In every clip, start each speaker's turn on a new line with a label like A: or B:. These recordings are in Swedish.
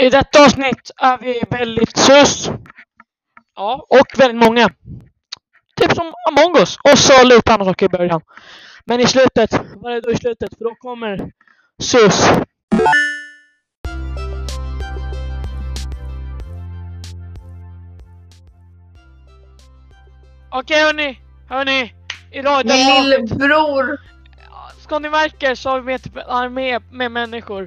A: I detta avsnitt är vi väldigt sus. Ja, och väldigt många. Typ som Among us. Och så lite andra saker i början. Men i slutet, vad är det då i slutet? För då kommer sus. Okej hörni, hörni. Idag är det
B: Lillbror!
A: Som ni märker så har vi med typ en armé med människor.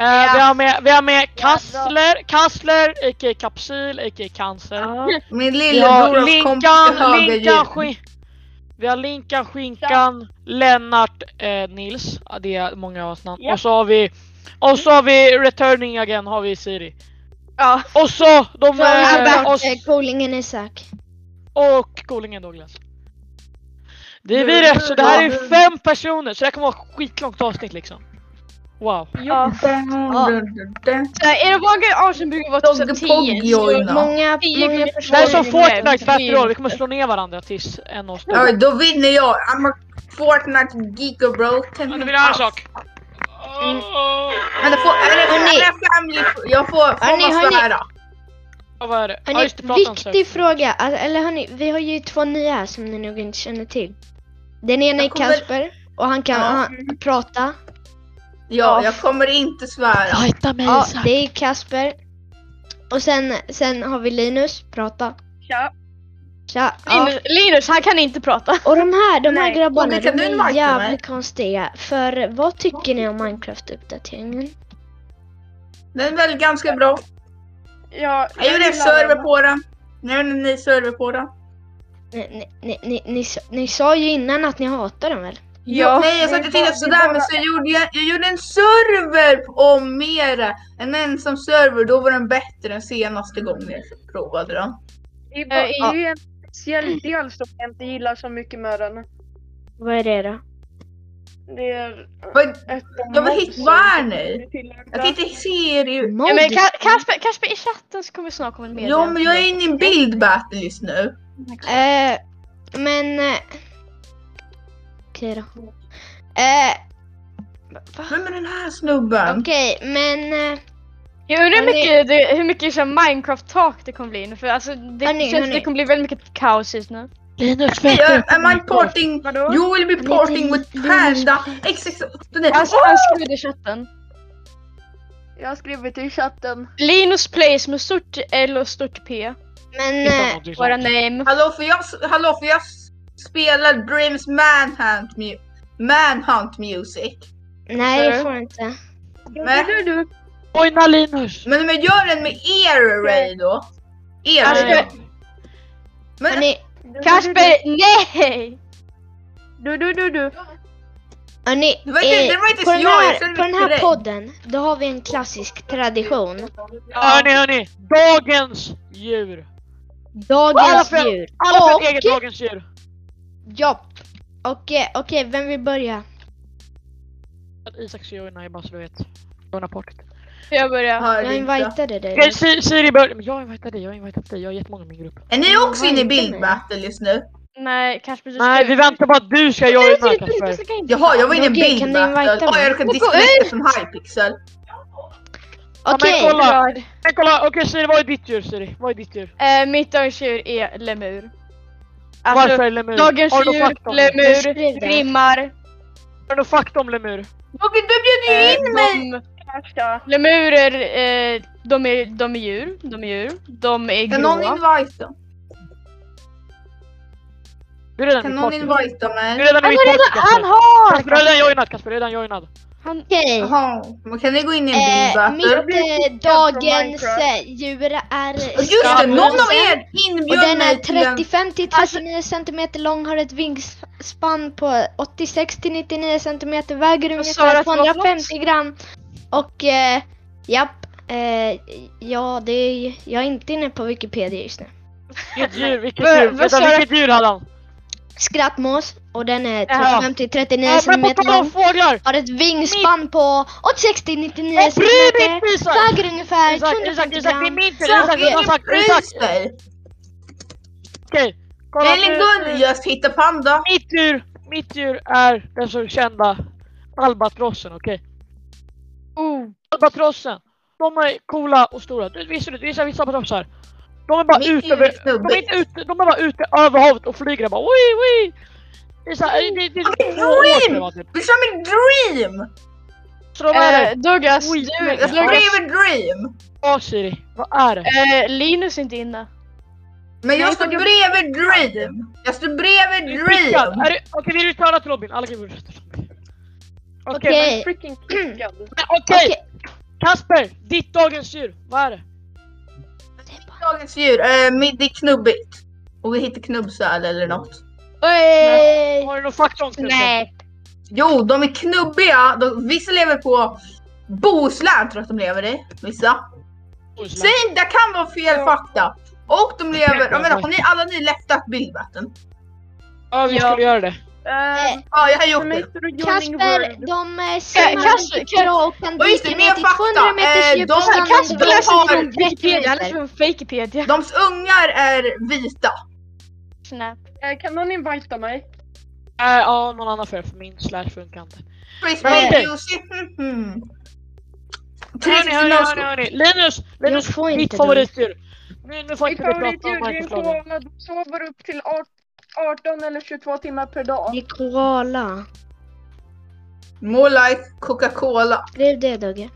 A: Eh, vi, har med, vi har med Kassler, Kassler, a.k.a. Kapsyl, a.k.a. Cancer.
B: Min
A: Vi har
B: lillebrors kompis är
A: Linkan, Linkan,
B: högerljud.
A: skin- vi har Linkan, Skinkan, Lennart, eh, Nils. Ja, det är många av oss namn.
C: Ja.
A: Och så har vi och så har vi Returning Again, har vi Siri.
C: Ja.
A: Och så de...
D: Från
C: Alltså,
A: Eh, och,
D: Abbas, eh, Kolingen Isak.
A: och Golingen Douglas. Det är vi det, så det här är ju fem personer, så det här kommer vara ett skitlångt avsnitt liksom. Wow.
C: Ja. Så här, är det vågar Asenbygge vara
B: Dogge
C: typ
B: Pogge,
C: 10?
B: oj.
C: så-
B: Ojna.
D: Många,
C: Tio
D: många
C: gånger-
A: Det
D: personer.
A: här är som
C: Nej,
A: Fortnite
C: nej,
A: Battle
C: nej.
A: Royale, vi kommer slå ner varandra tills en av oss dör.
B: Ja, då vinner jag! I'm a Fortnite geeker bro. Can
A: Men
B: help
A: du vill jag ha en
B: out.
A: sak?
B: Eller får, eller,
D: Hörni.
B: eller family, jag får, får
D: Hörni,
B: massa
D: hörni.
B: här då.
A: Ja, vad är det? Ja,
D: Hörni,
A: just det, prata om
D: viktig
A: sig.
D: fråga. Alltså, eller hörni, vi har ju två nya här som ni nog inte känner till. Den ena är
B: Jag kommer-
D: Kasper och han kan
B: Ja.
D: han, prata.
B: Ja, jag kommer inte svära.
A: Fighta mig
D: Ja,
A: Isak!
D: det är Kasper. Och sen, sen har vi Linus, prata.
C: Tja.
D: Tja. Ja.
C: Linus, Linus, han kan inte prata.
D: Och de här, de här
C: Nej.
D: grabbarna,
B: Roger, kan
D: de
B: du invita
D: är
B: mig?
D: jävligt konstiga. För vad tycker ni om Minecraft-uppdateringen?
B: Den är väl ganska bra.
C: Ja,
B: Jag gjorde en server på den. Nu är det en ny server på den.
D: Ni, ni, ni, ni, sa- ni sa ju innan att ni hatar dem väl?
B: Ja,
C: Ja,
B: nej jag sa att jag tyckte sådär men så gjorde jag, jag gjorde en server om mera. En ensam server, då var den bättre än senaste gången jag provade den.
C: Det
E: Eh,
C: är bara- det är ju en
A: Mm.
C: speciell del som jag inte gillar så mycket med den.
D: Vad är det då?
C: Det är...
B: Vad-
C: Ett
B: Jag vill hitta, vad är ni? Jag kan
C: Jag
B: inte se er ju.
D: Mod?
C: Ja, men Ka- Kasper, Kasper i chatten så kommer snart komma en meddelande.
B: Ja men jag är inne i en build battle just nu.
D: Eh, men... eh, Okej då. Eh, va?
B: Vem är den här snubben?
D: Okej, men... eh,
C: Jag undrar
D: Hörni.
C: hur mycket, det, hur mycket så här Minecraft-tak det kommer bli nu. För alltså, det
D: Hörni,
C: känns
D: hörni.
C: det kommer bli väldigt mycket kaos just nu.
A: Linus
B: Hey,
A: vet
B: uh, am I porting?
C: Vadå?
B: You will be
D: Men
B: porting
D: det-
B: with
D: det-
B: panda xx
C: Alltså,
B: oh,
C: han skrev i chatten.
E: Jag har skrivit i chatten.
C: Linus plays med stort L och stort P.
D: Men... eh,
A: inte.
C: Våra name.
B: Hallå för jag, hallå för jag spelar Dreams Manhunt, mu- Manhunt Music.
D: Nej, det
C: Sorry.
D: får du inte.
B: Men,
A: Ojna Linus!
B: men, men gör den med er Ray då. Er
C: Alltså,
B: Ray. Men
D: Hörni,
C: Kasper, nej!
E: Du, du, du, du.
D: hörni.
B: det var inte,
D: eh,
B: det var inte
D: på, den
B: ens jag,
D: här,
B: jag
D: på
B: ställde
D: den
B: mig
D: här
B: till
D: podden, då har vi en klassisk tradition.
A: Ja, hörni, hörni! Dagens djur! Alla
D: Dagens
A: för-
D: djur.
A: Alla för
D: Och-
A: ett eget dagens djur!
D: Ja. Okej, eh, okej, vem vill börja?
A: Att Isak ska joina, jag bara så du vet. Joina port.
C: Får jag börja?
B: Hör
D: Jag
B: inte.
D: invitade dig.
A: Okej, Si- Siri börjar. Men jag har invitat dig, jag har invitat dig, jag har jättemånga i min grupp.
B: Är ni också inne i build
D: Nej.
B: battle just nu?
C: Nej, Kasper du
A: Nej,
C: ska-
A: vi väntar på att du ska joina Kasper.
C: Kasper.
B: Jaha, jag var inne i
D: Okej,
B: build
D: kan du invita
B: battle. Åh,
D: mig?
B: jag råkade disconnecta från Hypixel.
A: Ja,
D: Okej,
A: men kolla. Men kolla, okej Siri, vad är ditt djur Siri? Vad är ditt djur?
C: Eh, mitt dagens djur är lemur. Alltså,
A: Varför är lemur?
C: dagens
A: Har du någon fakta
C: djur,
A: om det?
D: Beskriv
C: lemur,
D: det.
C: rimmar.
A: Har du någon fakta om lemur?
B: Okej, du bjöd ju
C: Eh,
B: in mig!
C: de, lemurer, eh, de, är, de är djur, de är djur, de
D: Eh,
C: är
B: Kan någon
C: gråa.
B: invite dem?
A: Du är redan i
B: Kan
A: mitt
B: någon
A: party.
B: invita
A: Du är
B: mig?
A: redan i
C: Han
A: mitt
C: har
A: party
C: redan, han
A: Kasper. Kasper, du
C: har!
A: är redan joinad Kasper, du är redan joinad.
D: okej.
B: Jaha, men kan ni gå in i en build
D: Eh, mitt
B: battle?
D: eh, dagens eh, djur är
B: Just det, någon av er
D: skabbrosen. Och
B: inbjöd
D: den är
B: mig till en...
D: 35 till 39 cm lång, har ett vingspann på 86 till 99 cm, väger
C: sa du
D: ungefär
C: att det var
D: 250 gram. Och eh, japp, eh, ja det är, jag är inte inne på Wikipedia just nu.
A: Vilket djur, vilket
C: Vad-
A: djur,
C: vad
A: vänta
C: sa du?
A: vilket djur hade han?
D: Skrattmås och den är
A: Jaha.
D: 35 till 39
A: Ja, men
D: cm
A: på tal om
D: lång.
A: fåglar!
D: Har ett vingspann på 86 till 99
A: Nej,
D: cm.
A: bry dig inte Isak!
D: Väger ungefär
A: Isak, Isak,
D: 250
A: Isak, det är
D: gram.
A: min tur!
B: Så,
A: Isak,
B: ingen
A: Isak, Isak!
B: bryr sig!
A: Okej, kolla
B: Eller
A: nu.
B: Gullias hittepanda!
A: Mitt djur, mitt djur är den så kända albatrossen, okej?
C: Oh.
A: Albatrossen! de är coola och stora. Du, visst, du, vissa, vissa patrapsar. De är bara
B: Mitt i
A: ute över...
B: snubbe.
A: De är, inte ute, de är bara ute över havet och flyger där bara wii wii! Det är såhär, det, det, det
B: Okej,
A: två år sedan
B: Dream!
A: va, typ.
B: Vi kör min dream!
A: Så de är
C: Eh, Douglas,
A: Oj,
C: du,
A: men-
B: Jag
A: Ja.
C: Douglas,
B: skrev dream!
A: Ja Siri, vad är det?
C: eh, Linus är inte inne.
B: Men jag
C: Nej,
B: står
C: jag-
B: bredvid dream! Jag står bredvid
A: Är du prickad?
B: dream!
A: Är du- Okej vi returnar till Robin, alla kan vi returna till Robin. Okej,
D: Okej.
E: Freaking kickad.
A: men- okej! Kasper, ditt dagens djur, vad är det?
B: Dagens djur, eh, midi knubbigt. Och vi hittar knubbsäl eller något.
D: Oj!
A: Har du någon fakta om det?
D: Nej.
B: Jo, de är knubbiga. De, vissa lever på Bohuslän tror jag att de lever i. Vissa. Säg inte, det kan vara fel fakta. Och de lever, jag menar, har ni, alla ni lättat bildmäten?
A: Ja vi
C: Ja.
A: skulle göra det.
E: Eh,
B: Ja, jag har gjort det.
E: för mig står det Joining
D: Kasper,
E: World.
D: de eh, simmar
C: Kasper,
D: riktigt bra och kan
B: Och just det,
D: dyka
B: mer
D: ner till
B: fakta.
D: 200 meters
B: Eh,
D: djup
B: de-
D: och stranden
B: Kasper
D: under
B: har-
D: vatten i 30
C: Wikipedia, han är
D: minuter.
C: från Fakepedia.
B: Deras ungar är vita.
C: Snap.
E: Eh, Kan någon invita mig?
A: Äh, ja, någon annan för, för min slash funkar inte.
B: Frisbee, Jussi, mhm. hmm.
A: Hörni,
B: Trissi,
A: hörni, hörni,
B: Norsko.
A: hörni! Linus! Linus,
D: Jag får inte
A: mitt
D: det.
A: favoritdjur! Nu, nu får
E: Mitt
A: inte du prata om
E: favoritdjur är en
A: Michael Claude.
E: koala. De sover upp till art- 18 eller 22 timmar per
D: Det
E: dag.
D: är koala.
B: More like Coca-Cola.
D: Skriv det Dogge.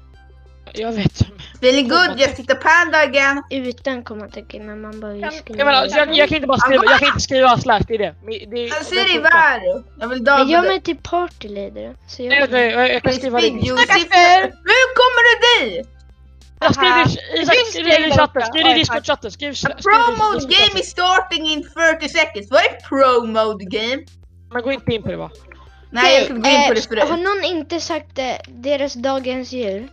A: Jag vet.
B: Feeling good, jag tittar panda again.
D: Utan kommatecken när man börjar
E: Kan-
D: skriva.
A: Jag menar, jag, jag kan inte bara skriva, jag kan inte skriva slash, det är det. Men Det,
B: Jag
A: det
B: ser dig
A: funkar.
B: värre. Jag vill döda
D: Men jag är
B: dig.
D: mig till partyleader. Så
A: Nej,
D: jag...
A: nej, jag, jag kan skriva det. i-
B: Frisbee, Jussi. Hur kommer du dit?
A: Jag skriver i- Isak,
C: finns
A: skriv det i
C: regler
A: chatten,
C: också.
A: skriv det i
C: Oj,
A: Discord-chatten, skriv skriv det i
B: Pro mode game
A: Discord-chatten.
B: is starting in 30 seconds. Vad är pro mode game?
A: Men gå inte in på det va.
B: Nej, jag kunde gå in på det
D: eh, Har
B: förut.
D: någon inte sagt eh, deras dagens djur?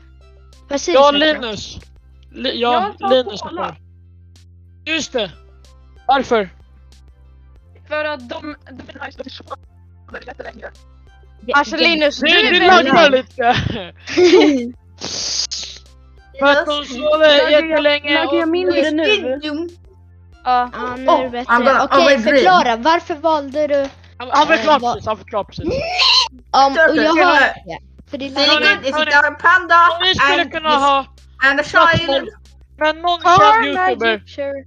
D: Vad säger
A: Ja,
D: Isak då?
A: Linus. Li, ja,
E: Jag sa
A: Linus
E: koala.
A: har Just det. Varför?
E: För att de... de är nice, de sover lite längre.
C: Alltså Linus,
A: Du, du
C: väl-
A: laggar lite. För att de sover
E: Laggar jag-
A: jättelänge
E: laggar jag
A: och...
E: mindre nu?
C: Ja.
D: Ja, nu
B: Oh,
D: är det bättre.
B: I'm gonna- I'm
D: Okej,
B: gonna
D: förklara. Varför valde du...
A: Han- Han
D: Eh,
A: förklarar
D: vad-
A: precis, han förklarar precis.
B: Mm.
D: Ja,
B: Turtle,
D: och jag
B: turtle.
D: har... Ja, För det
B: Feeling
A: Hörni,
D: är...
B: good is
A: hörni.
B: it a panda
A: Om vi skulle
B: and,
A: kunna ha
B: and a child.
A: slagsmål med någon känd youtuber.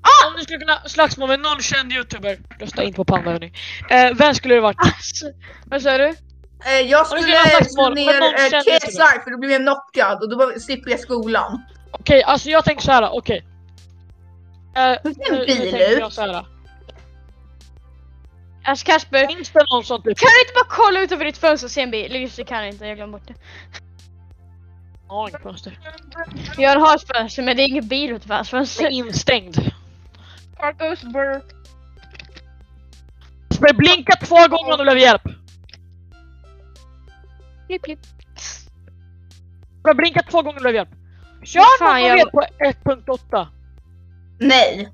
A: Ah! Om ni skulle kunna slagsmål med någon känd youtuber. Rösta in på Panda hörni. Eh, vem skulle det varit?
B: Ah.
D: Alltså,
C: Vad sa du?
B: Eh, jag
A: skulle
B: skulle
A: ha slagsmål,
B: slå
A: men
B: ner
A: någon
B: eh,
A: känner inte
B: KSI för då blev jag knockad och då var- slipper jag skolan.
A: Okej, alltså jag tänker såhär, okej. Eh,
B: Hur ser
A: nu-
B: en
A: nu
B: bil
A: tänker
B: ut?
A: jag så här.
C: Alltså Kasper, kan
A: Finns det någon sån typ?
C: du inte bara kolla ut över ditt fönster och se en bil? Just det, kan jag inte, jag glömde bort det.
A: Ja, inget fönster.
C: Jag har ett fönster men det är ingen bil utanför hans
A: Den är
C: fönster.
A: instängd.
E: Park Östberg.
A: Kasper, blinka två gånger om du behöver hjälp.
C: Klipp, klipp.
A: Kasper, blinka två gånger om du behöver hjälp.
C: Vad
A: Kör
C: fan
A: någon
C: gör
A: jag... vet på 1.8.
B: Nej.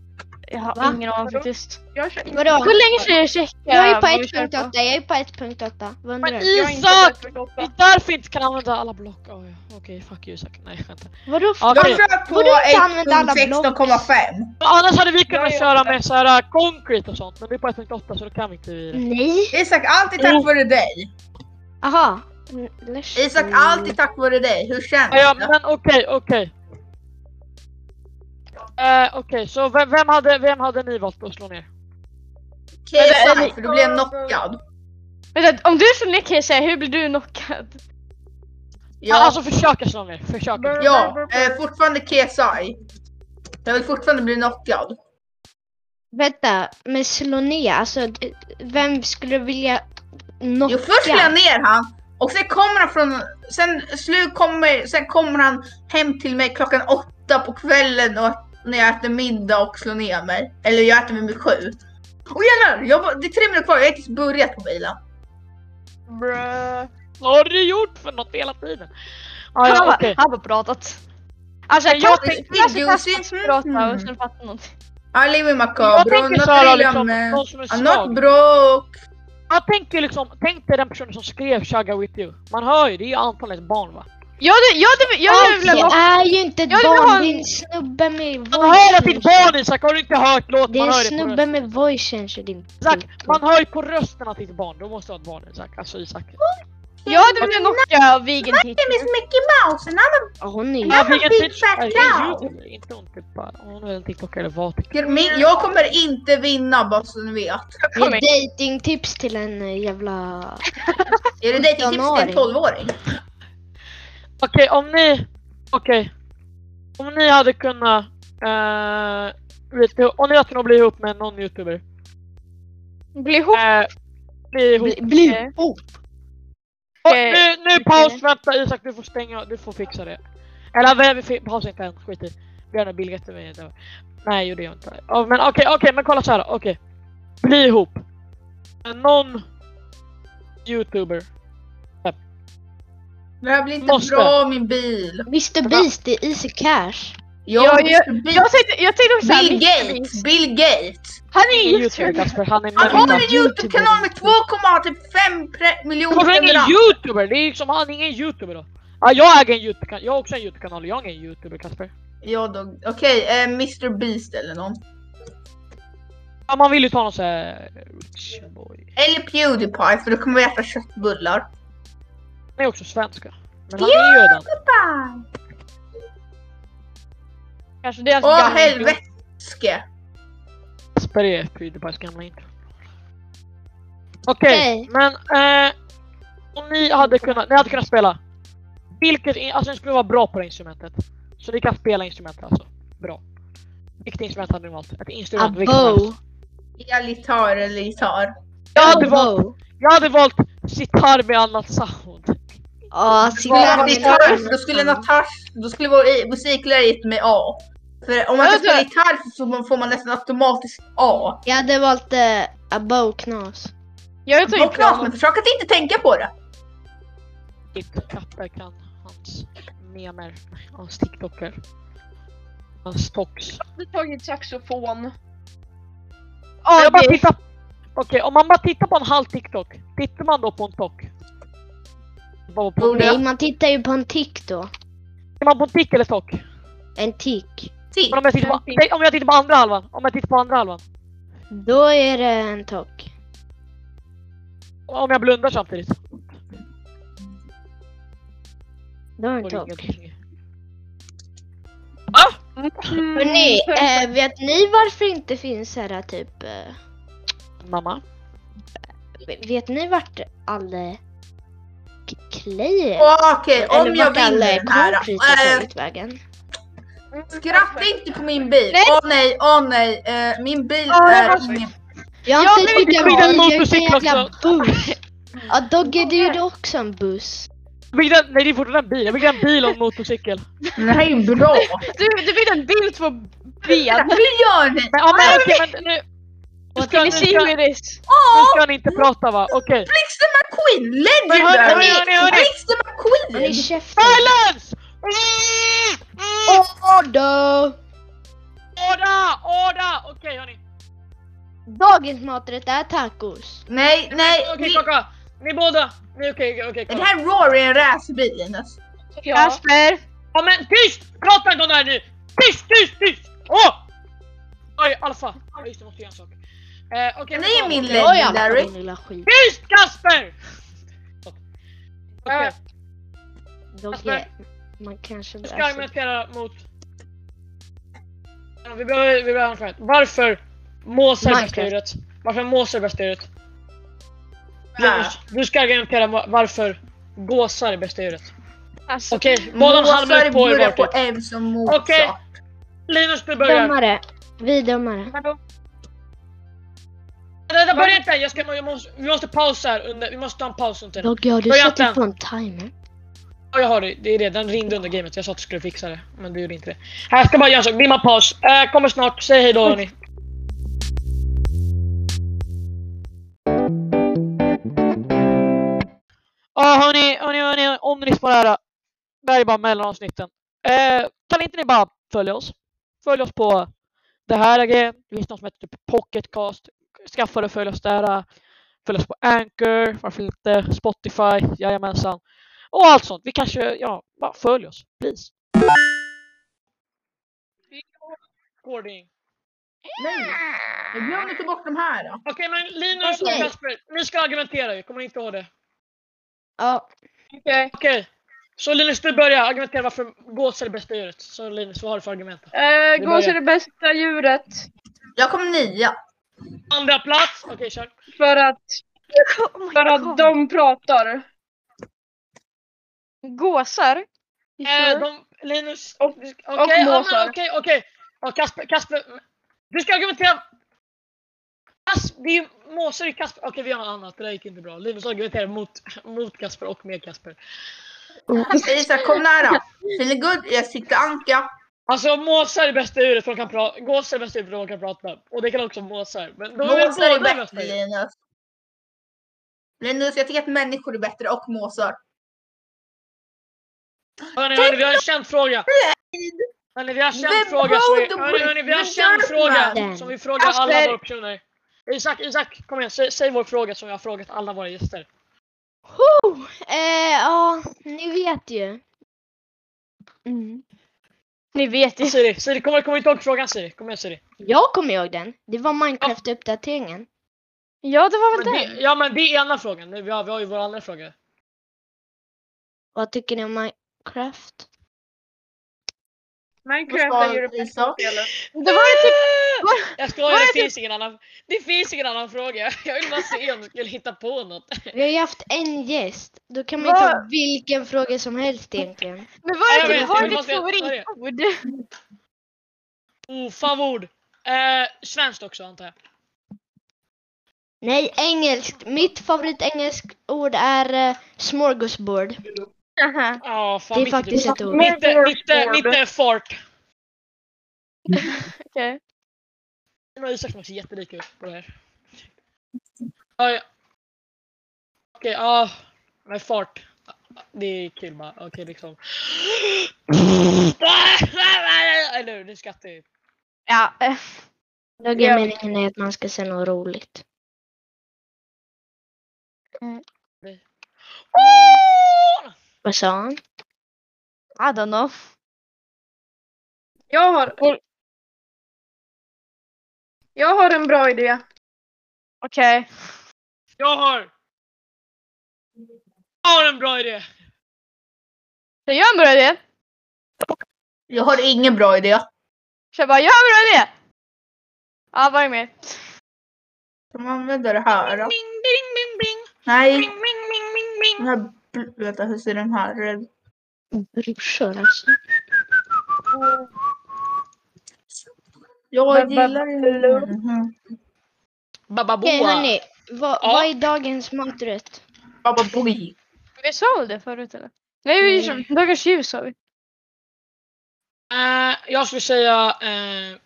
C: Jag har ingen aning faktiskt.
E: Jag kör inte.
D: Vadå?
C: Hur länge sedan jag checkade?
D: Jag är på
C: vad vi kör
D: 1.8, jag är på 1.8. Vad undrar
A: Men
D: du?
E: Jag är inte
A: Isak!
E: för
A: Det
E: åtta.
A: är därför jag inte kan använda alla block. Oh, ja. Okej, fuck you Isak. Nej, skämtar.
D: Vadå för...
A: Ja,
B: Jag
A: okej.
B: kör på
D: Borde du inte använda alla
B: 1.16,5.
A: Men Annars hade vi kunnat
E: Jag är
A: köra
E: åtta.
A: med så här äh, concrete och sånt, men vi är på 1.8 så då kan vi inte vi det.
D: Nej.
B: Isak, allt är
A: Mm.
B: tack vare dig.
D: Aha. Mm, lös-
B: Isak, allt är tack vare dig. Hur känns
A: Ja, ja,
B: det?
A: men okej, okej. Eh, okej, så vem, vem, hade, vem hade ni valt att slå ner?
B: KSI för då blev jag knockad.
C: Vänta, om du slår ner kan jag säga, hur blir du knockad?
A: Ja.
B: Ja.
A: Alltså försöka slå ner, försöka.
B: Ja, eh, fortfarande KSI. Jag vill fortfarande bli knockad.
D: Vänta, men slå ner. Alltså, d- vem skulle vilja knocka?
B: Jo, först slår jag ner han och sen kommer han från... Sen, slu kommer, sen kommer han hem till mig klockan åtta på kvällen och när jag äter middag och slår ner mig. Eller jag äter vid mig sju. Och jävlar, jag, bara- det är tre minuter kvar, jag har inte ens börjat på bilen.
E: Bruh.
A: Vad har du gjort för något hela tiden? Ah,
C: han,
A: ja,
C: har-
A: okej.
C: han har pratat. Alltså
A: Men
C: jag,
A: jag
C: jag
B: tänker-
C: tänkte nästan
B: Juicy.
C: Kaspers prata
B: Mm.
C: och sen fatta någonting.
B: I live
A: Jag
B: in Macabro,
A: tänker
B: not
A: såhär
B: really
A: liksom,
B: I'm,
A: någon som är
B: I'm not
A: svag.
B: broke.
A: Jag tänker liksom, tänk dig den personen som skrev 'Chugga with you'. Man hör ju, det är ju antalet barn va?
C: Jag hade, jag hade, jag hade
D: Allt
C: velat ha
D: är ju inte ett
C: Jag vill ha
D: barn,
C: en-
D: det är en snubbe med voice
A: Man hör att ditt
D: changer.
A: barn Isak, har du inte hört låten?
D: Det är
A: Man
D: en
A: hör ju på
D: snubbe
A: rösten.
D: med voice changer din
A: Isak, man hör ju på rösten att ditt barn, då måste du ha ett barn Isak. Alltså Isak.
C: Jag hade blivit knockad av vegan
B: name is Mickey Mouse and I'm
D: Ja, hon är ju...
A: Ja,
B: I'm a
A: vilken
B: big
A: TikTok?
B: fat cow.
A: Inte hon typ bara, hon är en TikTok eller vad? typ.
B: a... Min, jag kommer inte vinna bara så ni vet.
D: Ge
C: Kom igen.
D: dejtingtips till en jävla...
B: Är det dejtingtips till en 12-åring?
A: Okej, om ni... Okej. Om ni hade kunnat... eh, vet ni, om ni hade kunnat bli ihop med någon youtuber.
C: Bli ihop.
A: eh, bli ihop.
D: Bli ihop!
A: Och
C: eh,
A: nu, nu paus, vänta Isak du får stänga, du får fixa det. Eller nej, vi fi- pausar inte än, skit i. Vi gör en biljet till mig. där. Nej, gjorde jag inte. Ja, men okej, okej, men kolla så här. okej. Bli ihop. Med någon youtuber.
B: Det här blir inte
A: Måste.
B: bra min bil.
D: Mr Beast i Easy Cash.
B: Jag,
C: Ja,
B: jag, jag,
C: Jag tänkte, jag tänkte såhär,
B: Bill Gates! Bill Gates!
C: Han
A: Ingen
C: är
A: youtuber
C: youtuber.
A: Kasper, han är
B: Han har
A: människa.
B: en YouTube-kanal med 2,5 pre- miljoner
A: Han är ingen
B: prenumeranter.
A: youtuber, det är liksom, han är ingen youtuber då. Ja, jag äger en youtube jag har också en youtube-kanal, jag är ingen youtuber Kasper.
B: Ja då, okej, eh, Mr Beast eller någon.
A: Ja, man vill ju ta någon sån här... rich boy.
B: Eller Pewdiepie för då kommer vi äta köttbullar.
A: Han är också svensk. ja. Men han är ju redan...
B: Bye.
C: Kanske deras
B: Åh
C: gamla-
B: helveteske!
A: Kasper är Pewdiepies gamla intro. Okej,
D: Okej.
A: men... Eh, om ni hade kunnat, ni hade kunnat spela. Vilket, in- alltså ni skulle vara bra på det instrumentet. Så ni kan spela instrumentet alltså. Bra. Vilket instrument hade ni valt? Ett
D: A
A: instrument, vilket som helst.
D: bow.
B: Ja, gitarr eller gitarr.
A: Jag
D: A
A: hade valt,
D: bow.
A: jag hade valt sitar med annat sound.
D: Ja,
B: Skulle jag
D: signal-
B: haft gitarr då skulle Natasha, då skulle vår i- musiklärare gett mig A. För om man ska
C: Ja, det-
B: spela gitarr så man- får man nästan automatiskt A.
D: Jag hade valt eh, a bow knas.
C: Jag vet
B: Och
C: Alltså, inte.
B: knas, men försök att inte tänka på det.
A: Mitt Kappe kan hans memer, hans tiktoker. Hans tox.
E: hade tagit saxofon.
A: Men
C: Ja,
A: jag bara
C: det-
A: tittar... Okej, om man bara tittar på en halv tiktok, tittar man då på en tok? Bara På,
B: Borde
D: Nej,
A: tittar
D: man tittar ju på en tick då.
A: man på en tik eller tok?
D: En tick.
B: Titt.
A: Men om, jag tittar på,
D: Mm.
E: Tick.
A: nej, om jag tittar på andra halvan? Om jag tittar på andra halvan?
D: Då är det en tock.
A: Om jag blundar samtidigt?
D: Då är det en
A: Och
D: tock.
A: ingenting.
D: Hörrni,
E: Mm.
D: eh, vet ni varför det inte finns här typ... Eh,
A: Mamma?
D: vet ni vart all... eh, k- Clay
B: Åh, Okej, om
D: Eller
B: jag
D: vart alla
B: vinner den här.
D: countries har
B: eh,
D: tagit vägen. eh,
B: Skratta inte på min bil!
C: Nej.
B: Åh nej, åh nej! eh, min bil
C: Ja, jag
B: är
C: måste-
B: ingen...
D: Jag
C: Jag
D: har inte
C: blev
D: ens en bil,
A: beskylld
D: jag
A: mot
D: är en
A: musik
D: jävla buss. Ja, Dogge, du gjorde också en buss.
A: Jag byggde en, nej det är fortfarande en bil, jag byggde en bil och en motorcykel.
B: Den här är ju bra!
C: Du, du fick en bild på ben.
B: Hur gör ni?
A: Men, ja, men okej men nu... Nu
C: Och
A: ska,
C: till
A: nu, ska, nu
C: Sigridis.
A: ska ni inte prata va? Okej.
B: Blixten McQueen!
A: Men hörni,
B: Legendary!
A: hörni, hörni, hörni!
B: Blixten
D: Håll i
B: McQueen!
D: käften.
A: Silence!
D: Order!
A: Orda! Orda! Okej hörni.
D: Dagens maträtt är tacos.
B: Nej, nej!
A: Okej
B: ni-
A: kaka. Ni båda. Ni okej okej
B: Är
A: kaka.
B: det här Rory en racerbil Linus?
E: Ja.
C: Kasper.
A: Ja men tyst! Prata inte om det här nu! Tyst tyst tyst! Åh! Oj Alfa. Ja, Just det, måste göra en sak. Eh, okej,
B: Ni
A: men
B: är
A: ta-
B: min
A: okej.
B: lilla-
D: Oj, alla
B: Legendary.
D: din lilla skit.
A: Tyst Kasper! Eh, Okej,
D: Dogge, man kanske...
A: jag ska
D: alltså-
A: argumentera mot... Ja, Vi behöver, vi behöver en skämt. Varför måsar är bäst i
D: Minecraft.
A: djuret? Varför måsar är bäst i djuret?
B: Ja.
A: Linus, Du ska argumentera va- varför gåsar är bästa djuret.
C: Alltså,
A: Okej, båda en halv minut på er
B: börjar på
A: varsitt.
B: M som motsats.
A: Okej, Linus du börjar.
D: Domare. Vi domare.
A: Vänta, börja inte! Jag ska, jag måste, vi måste pausa här under, vi måste ta en paus under.
D: Dogge, har du
A: Börja
D: satt
A: inte.
D: på en timer?
A: Ja, jag har det, det är det. Den ringde under gamet. Jag sa att du skulle fixa det, men du gjorde inte det. Här, jag ska bara göra en sak. Dimma paus. Eh, kommer snart. Säg hej då hörni. Ja hörni, hörni, hörni, om ni lyssnar på det här. Det här är bara mellanavsnitten. Eh, kan inte ni bara följa oss? Följ oss på det här är grejen. Det finns något som heter typ Pocketcast. Skaffa det och följ oss där. Följ oss på Anchor, varför inte? Spotify, jajamensan. Och allt sånt. Vi kanske, ja, bara följ oss. Please. Recording.
B: Nej, jag glömde ta bort de här då.
A: Okej men Linus och
D: Okej.
A: Kasper, ni ska argumentera ju. Kommer ni inte ihåg det?
D: Ja,
C: Okej.
A: Okej. Så Linus, du börjar argumentera varför gås är det bästa djuret. Så Linus, vad har du för argument?
E: Eh,
A: Vi
E: gås
A: börjar.
E: är det bästa djuret
B: Jag kom nia.
A: Andra plats. Okej, kör.
E: för att,
D: Oh my
E: för
D: God.
E: att de pratar.
C: Gåsar?
E: Mm.
A: Eh, de, Linus.
E: Och, och
A: Okej, ja, men
E: måsar.
A: okej, okej. Ja, Kasper, Kasper. Du ska argumentera. Kas, det är ju måsar i Kasper. Okej, vi gör något annat. Det där gick inte bra. Linus argumenterar mot, mot Kasper och med Kasper.
B: Isak kom nära. Finegood, jag sitter anka.
A: Alltså måsar är bästa djuret för de kan prata. Gåsar är bästa djuret för de kan prata. Och det kan också måsar. Men de är
B: Måsar
A: båda
B: är
A: bästa
B: bättre
A: djur.
B: Linus. Linus, jag tycker att människor är bättre och måsar.
A: Hörni, hörni, vi har en känd fråga. Hörni, vi har en känd
B: Vem
A: fråga. Som vi,
B: bodde på
A: hörni, hörni, vi har en känd fråga
B: Bryggan?
A: som vi frågar alla
C: Kasper.
A: våra personer. Isak, Isak, kom igen. Säg, säg vår fråga som vi har frågat alla våra gäster.
D: Ho! Eh, ja, ni vet ju. Mm.
C: Ni vet ju.
A: Siri, Siri, kommer kom inte ihåg frågan Siri. Kom igen Siri.
D: Jag kommer ihåg den. Det var Minecraft-uppdateringen.
C: Ja, det var väl
A: Men
C: det.
A: det, ja men det är ena frågan. Nu, Vi har, vi har ju våra andra frågor.
D: Vad tycker ni om Minecraft?
E: Minecraft
B: Vad
E: är
B: sa
E: ju det bästa
B: Isak?
E: spelet.
C: Det var ju typ...
A: Jag skojar, det finns ingen annan. Det finns ingen annan fråga. Jag vill bara se om du skulle hitta på något.
D: Vi har ju haft en gäst. Då kan man ju
C: Vad?
D: ta vilken fråga som helst egentligen.
C: Men vad
A: Jag
C: är
A: vet
C: det?
A: inte,
C: Har
A: men
C: du
A: måste jag-
C: favoritord?
A: Oh, fan vad ord. Eh, svenskt också antar jag.
D: Nej, engelskt. Mitt favoritengelskt ord är eh, smorgasbord.
C: Aha.
A: Ja, fan
D: Det är
A: mitt typ
D: faktiskt ett ord.
A: Mitt är- mitt är- mitt är fart.
C: Okej.
A: Nu har Isak som också jättelik ut på det här. Ja, ja. Okej, ja. Men fart. Det är kul bara. Okej, liksom. Eller hur? Nu skrattar jag ju.
C: Ja. eh,
D: Jag
C: Ja.
D: är meningen är att man ska säga något roligt. Vad sa han?
C: I don't know.
E: Jag har... Jag har en bra idé.
C: Okej.
A: Jag har... Jag har en bra idé!
C: Så jag har en bra idé.
B: Jag har ingen bra idé.
C: Så jag bara, jag har en bra idé! Ja, vad är det mer?
B: De använder det här. Då.
A: Bing, bing, bing, bing,
B: Nej,
A: bing, bing, bing, bing,
B: den
A: bing.
B: här... bl- Vänta, hur ser den här ut?
D: Brorsor alltså.
B: Jag
E: Ba- ba-
B: gillar ju...
E: ba-
B: Mhm.
A: Bababoa.
D: Okej hörni, vad,
A: Ja.
D: vad är dagens maträtt?
B: Baba Boogie.
C: Vi sa väl det förut eller? Nej, vi
B: Nej.
C: Dagens ljus sa vi.
A: Eh, jag skulle säga... eh,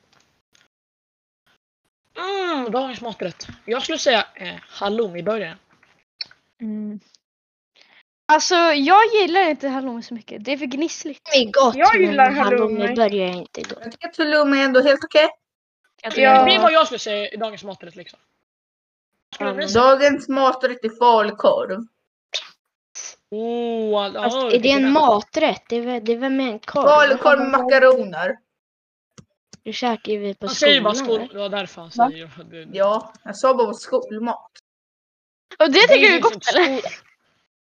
A: Mm, dagens maträtt. Jag skulle säga eh, halloumiburgare.
C: Mm. Alltså, jag gillar inte halloumi så mycket. Det är för gnissligt.
D: Det är gott
E: Jag gillar
D: men
E: halloumi.
D: halloumi börjar jag inte gott.
B: Jag tycker att Tulum är ändå helt okej.
E: Ja.
A: Det är vad jag skulle säga i dagens maträtt liksom. Vad skulle ni säga?
B: Dagens maträtt är falukorv.
A: Oh, all-
D: Fast
A: ja,
D: alltså, är det en
A: vilken-
D: maträtt? Det är väl, det är väl med en korv?
B: Falukorv med makaroner.
D: Det käkar ju vi på
A: Han säger bara
D: skolan.
A: skol...
D: eller?
A: Det var därför han säger det.
B: Ja, jag sa bara skolmat.
C: Och det
A: Det
C: tycker
A: är
C: du är
A: liksom
C: gott eller?
A: skol-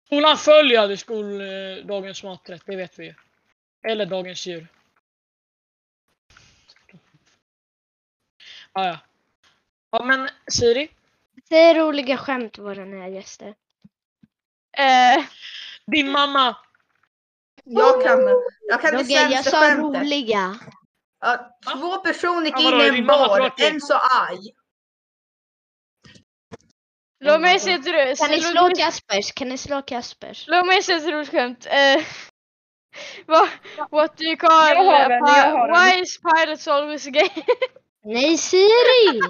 A: Skolan följer aldrig skol, eh, dagens maträtt, det vet vi ju. Eller dagens djur. Ah, ja. ja men Siri,
D: Säg roliga skämt våra nya gäster.
C: Eh,
A: din mamma.
B: Jag kan, jag kan det
D: Rogge, jag
B: sämsta
D: sa
B: skämtet.
D: roliga.
B: Ja, två personer gick
A: Ja,
B: in
A: vadå,
B: i
A: är
B: en
A: din mamma
B: bar,
A: tråkig?
B: en så arg.
C: låt mig se ett roligt
D: Kan ni slå Kaspers? Kan ni slå Kaspers?
C: Låt mig se ett roligt skämt. Eh, vad- what do you call...
E: Jag har en, jag har en.
C: why is pilots always gay?
D: Nej Siri!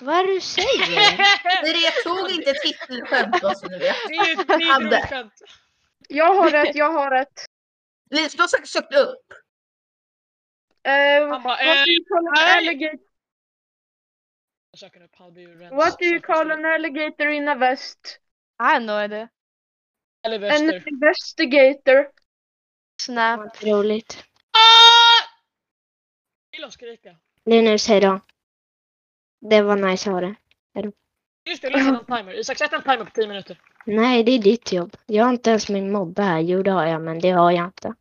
D: Vad är det du säger?
B: Ni tog inte titelskämt vad som ni vet.
A: Det är ju ett- det är ju ett
B: Hade.
A: roligt skämt.
E: Jag har ett, jag har ett.
B: Linus, du har säkert sökt upp.
E: Eh,
A: Han bara, eh,
E: what do you call an
A: nej.
E: alligator?
A: jag söker upp, how do you rent-
E: What do you
A: söker
E: call
A: sig-
E: an alligator in a vest?
C: I have Ah, no idea.
A: Eller
E: An
A: väster.
E: investigator.
C: Snap.
D: Roligt.
A: Ah! Vill de skrika?
D: Linus, hejdå. Det var nice att ha det.
A: Just det, jag lägger en timer. Isak, sätt en timer på 10 minuter.
D: Nej, det är ditt jobb. Jag har inte ens min mobbe här. Jo, det har jag, men det har jag inte.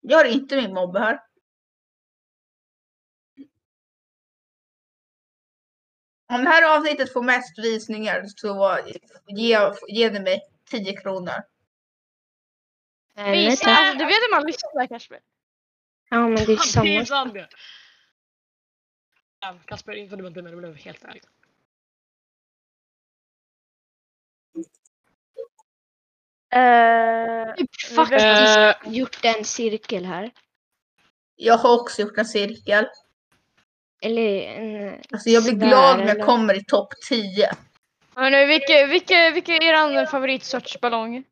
B: Jag har inte min mobb här. Om det här avsnittet får mest visningar så ge, ge ni mig 10 kronor.
D: Eh, nej,
C: Visa,
D: tack.
C: alltså, du vet hur man lyssnar Kasper?
D: Ja, men det är
A: Fan,
D: samma.
A: pinsamt ju. Jävlar, Ehm, Kasper, inte dumt men du blev helt ärlig.
E: Eh,
D: Typ faktiskt
A: Eh,
D: gjort en cirkel här.
B: Jag har också gjort en cirkel.
D: Eller en...
B: Alltså jag blir
D: Sådär,
B: glad om jag
D: eller?
B: kommer i topp 10.
C: Men nu, vilken, vilken, vilken är er favoritsorts ballong?